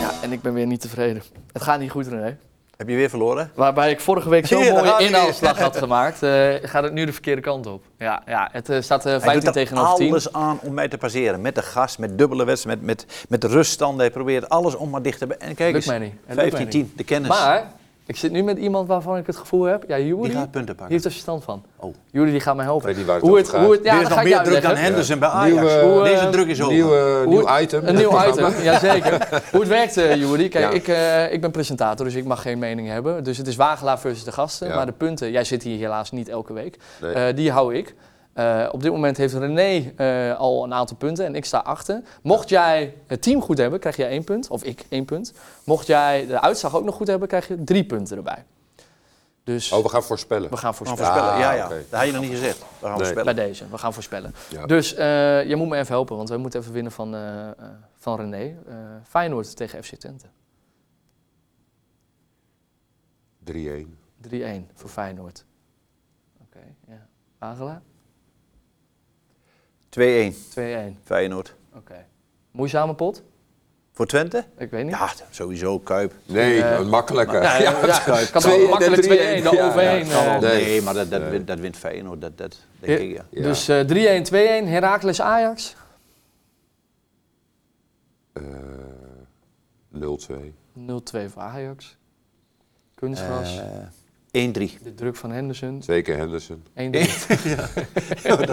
S1: Ja, en ik ben weer niet tevreden. Het gaat niet goed, René.
S2: Heb je weer verloren?
S1: Waarbij ik vorige week zo'n
S2: Hier, daar gaat
S1: mooie
S2: hij weer.
S1: inhaalslag had gemaakt, eh, gaat het nu de verkeerde kant op. Ja, ja het eh, staat eh, 15
S2: Hij doet er
S1: tegenover 10.
S2: alles aan om mij te passeren. Met de gas, met dubbele wedstrijden, met, met, met de ruststanden. Hij probeert alles om maar dicht te... be- En kijk
S1: Lukt mij
S2: eens,
S1: niet. Het lukt mij
S2: 15-10, de kennis.
S1: Maar ik zit nu met iemand waarvan ik het gevoel heb. Ja, Jury.
S2: Die gaat
S1: die
S2: punten pakken.
S1: heeft er verstand van.
S2: Oh.
S1: Jury die gaat mij helpen.
S3: Weet niet waar het
S1: hoe
S3: over
S1: het,
S3: gaat.
S1: hoe het, ja,
S2: Er
S1: dat
S2: is
S1: ga
S2: nog
S1: ik
S2: meer
S1: jou
S2: druk dan
S1: uitleggen.
S2: Henderson bij Ajax.
S3: Nieuwe- Hoe,
S1: eh,
S2: Deze druk is over.
S3: Nieuw, eh,
S1: Hoe-
S3: nieuw item.
S1: Een nieuw item, jazeker. Hoe het werkt, eh Jury. Kijk,
S3: Ja.
S1: ik, eh, ik ben presentator, dus ik mag geen mening hebben. Dus het is Wagelaar versus de gasten.
S3: Ja.
S1: Maar de punten, jij zit hier helaas niet elke week.
S3: Nee.
S1: Eh, die hou ik. Eh, op dit moment heeft René eh, al een aantal punten en ik sta achter. Mocht jij het team goed hebben, krijg jij één punt. Of ik één punt. Mocht jij de uitslag ook nog goed hebben, krijg je drie punten erbij. Dus
S3: Oh, we gaan voorspellen.
S1: we gaan
S2: Gaan
S1: voorspellen.
S2: voorspellen.
S3: Ah,
S2: ja, ja.
S3: oké.
S2: Dat had je nog niet gezegd. We gaan voorspellen.
S1: Bij deze, we gaan voorspellen.
S3: Ja.
S1: Dus eh, je moet me even helpen, want we moeten even winnen van, eh, eh, van René. Eh, Feyenoord tegen FC Twente.
S3: 3-1.
S1: 3-1 voor Feyenoord. Oké, ja. Agela?
S2: 2-1,
S1: 2-1. Oké.
S2: Feyenoord.
S1: Moeizame pot?
S2: Voor Twente?
S1: Ik weet niet.
S2: Ja, sowieso, Kuip.
S3: Nee,
S1: Eh,
S3: een makkelijke.
S1: Ja, ja, ja, het kan
S3: Twee-
S1: wel makkelijk 2-1,
S3: 3-1,
S1: dan
S3: ja,
S1: overheen.
S3: ja,
S1: eh.
S3: kan wel.
S2: Nee,
S3: Nee.
S2: maar dat, dat,
S3: Nee.
S2: Wint, dat wint Feyenoord. Dat, dat denk ik, ja.
S3: Ja.
S1: Dus eh, 3-1, 2-1, Heracles Ajax.
S3: Eh, 0-2.
S1: 0-2 voor Ajax. Kunstgras.
S2: Eh, 1-3.
S1: de druk van Henderson. 1-3.
S3: Twee keer Henderson.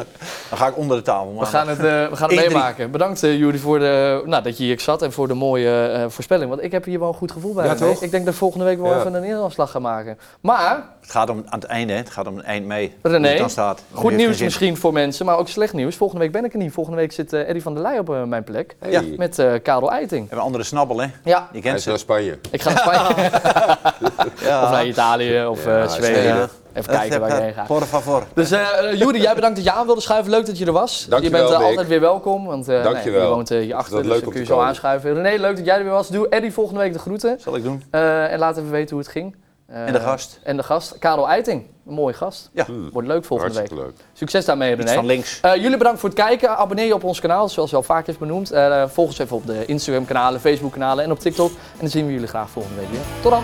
S2: Dan ga ik onder de tafel,
S1: We
S2: man.
S1: gaan het, eh, we gaan het
S2: 1-3.
S1: meemaken. Bedankt eh Jury voor de, nou, dat je hier zat en voor de mooie eh, voorspelling. Want ik heb hier wel een goed gevoel bij.
S3: Ja,
S1: René.
S3: toch?
S1: Ik denk dat ik volgende week wel
S3: Ja.
S1: even een inhaalslag gaan maken. Maar
S2: Het gaat om aan het einde, hè. het gaat om het eind mee.
S1: René,
S2: Hoe het dan staat. Dat
S1: Goed
S2: heeft geen
S1: nieuws
S2: zin.
S1: misschien voor mensen, maar ook slecht nieuws. Volgende week ben ik er niet. Volgende week zit eh Eddie van der Leij op eh, mijn plek.
S3: Hey,
S2: Ja.
S1: Met eh, Karel Eiting.
S2: We hebben andere snabbel, hè?
S1: Ja,
S2: Je
S3: Hij
S2: kent
S3: is
S2: ze. Ah,
S3: naar Spanje.
S1: ik ga naar Spanje.
S2: Ja.
S1: Of naar Italië of eh,
S3: Ja,
S1: Zweden.
S2: Zweden.
S1: Even
S2: Dat-
S1: kijken waar
S2: dat-
S1: je heen gaat.
S2: Por favor.
S1: Dus eh Juri, jij bedankt dat je aan wilde schuiven. Leuk dat je er was.
S3: Dankjewel,
S1: je bent eh,
S3: Mick.
S1: altijd weer welkom, want eh
S3: Dankjewel.
S1: nee, je woont eh, hierachter,
S3: Dat
S1: dus
S3: leuk
S1: dan
S3: om
S1: kun je
S3: te
S1: zo
S3: komen.
S1: aanschuiven. René, leuk dat jij er weer was. Doe Eddie volgende week de groeten.
S2: Zal ik doen.
S1: Eh, en laat even weten hoe het ging. Eh,
S2: En de gast.
S1: En de gast, Karel Eiting. Een mooie gast.
S2: Ja.
S1: Wordt leuk volgende week.
S3: Hartstikke leuk.
S1: Succes daarmee,
S2: Iets
S1: René.
S2: van links.
S1: Eh, jullie bedankt voor het kijken. Abonneer je op ons kanaal, zoals al vaak is benoemd. Eh, volg ons even op de Instagram-kanalen, Facebook-kanalen en op TikTok. En dan zien we jullie graag volgende week weer. Tot dan!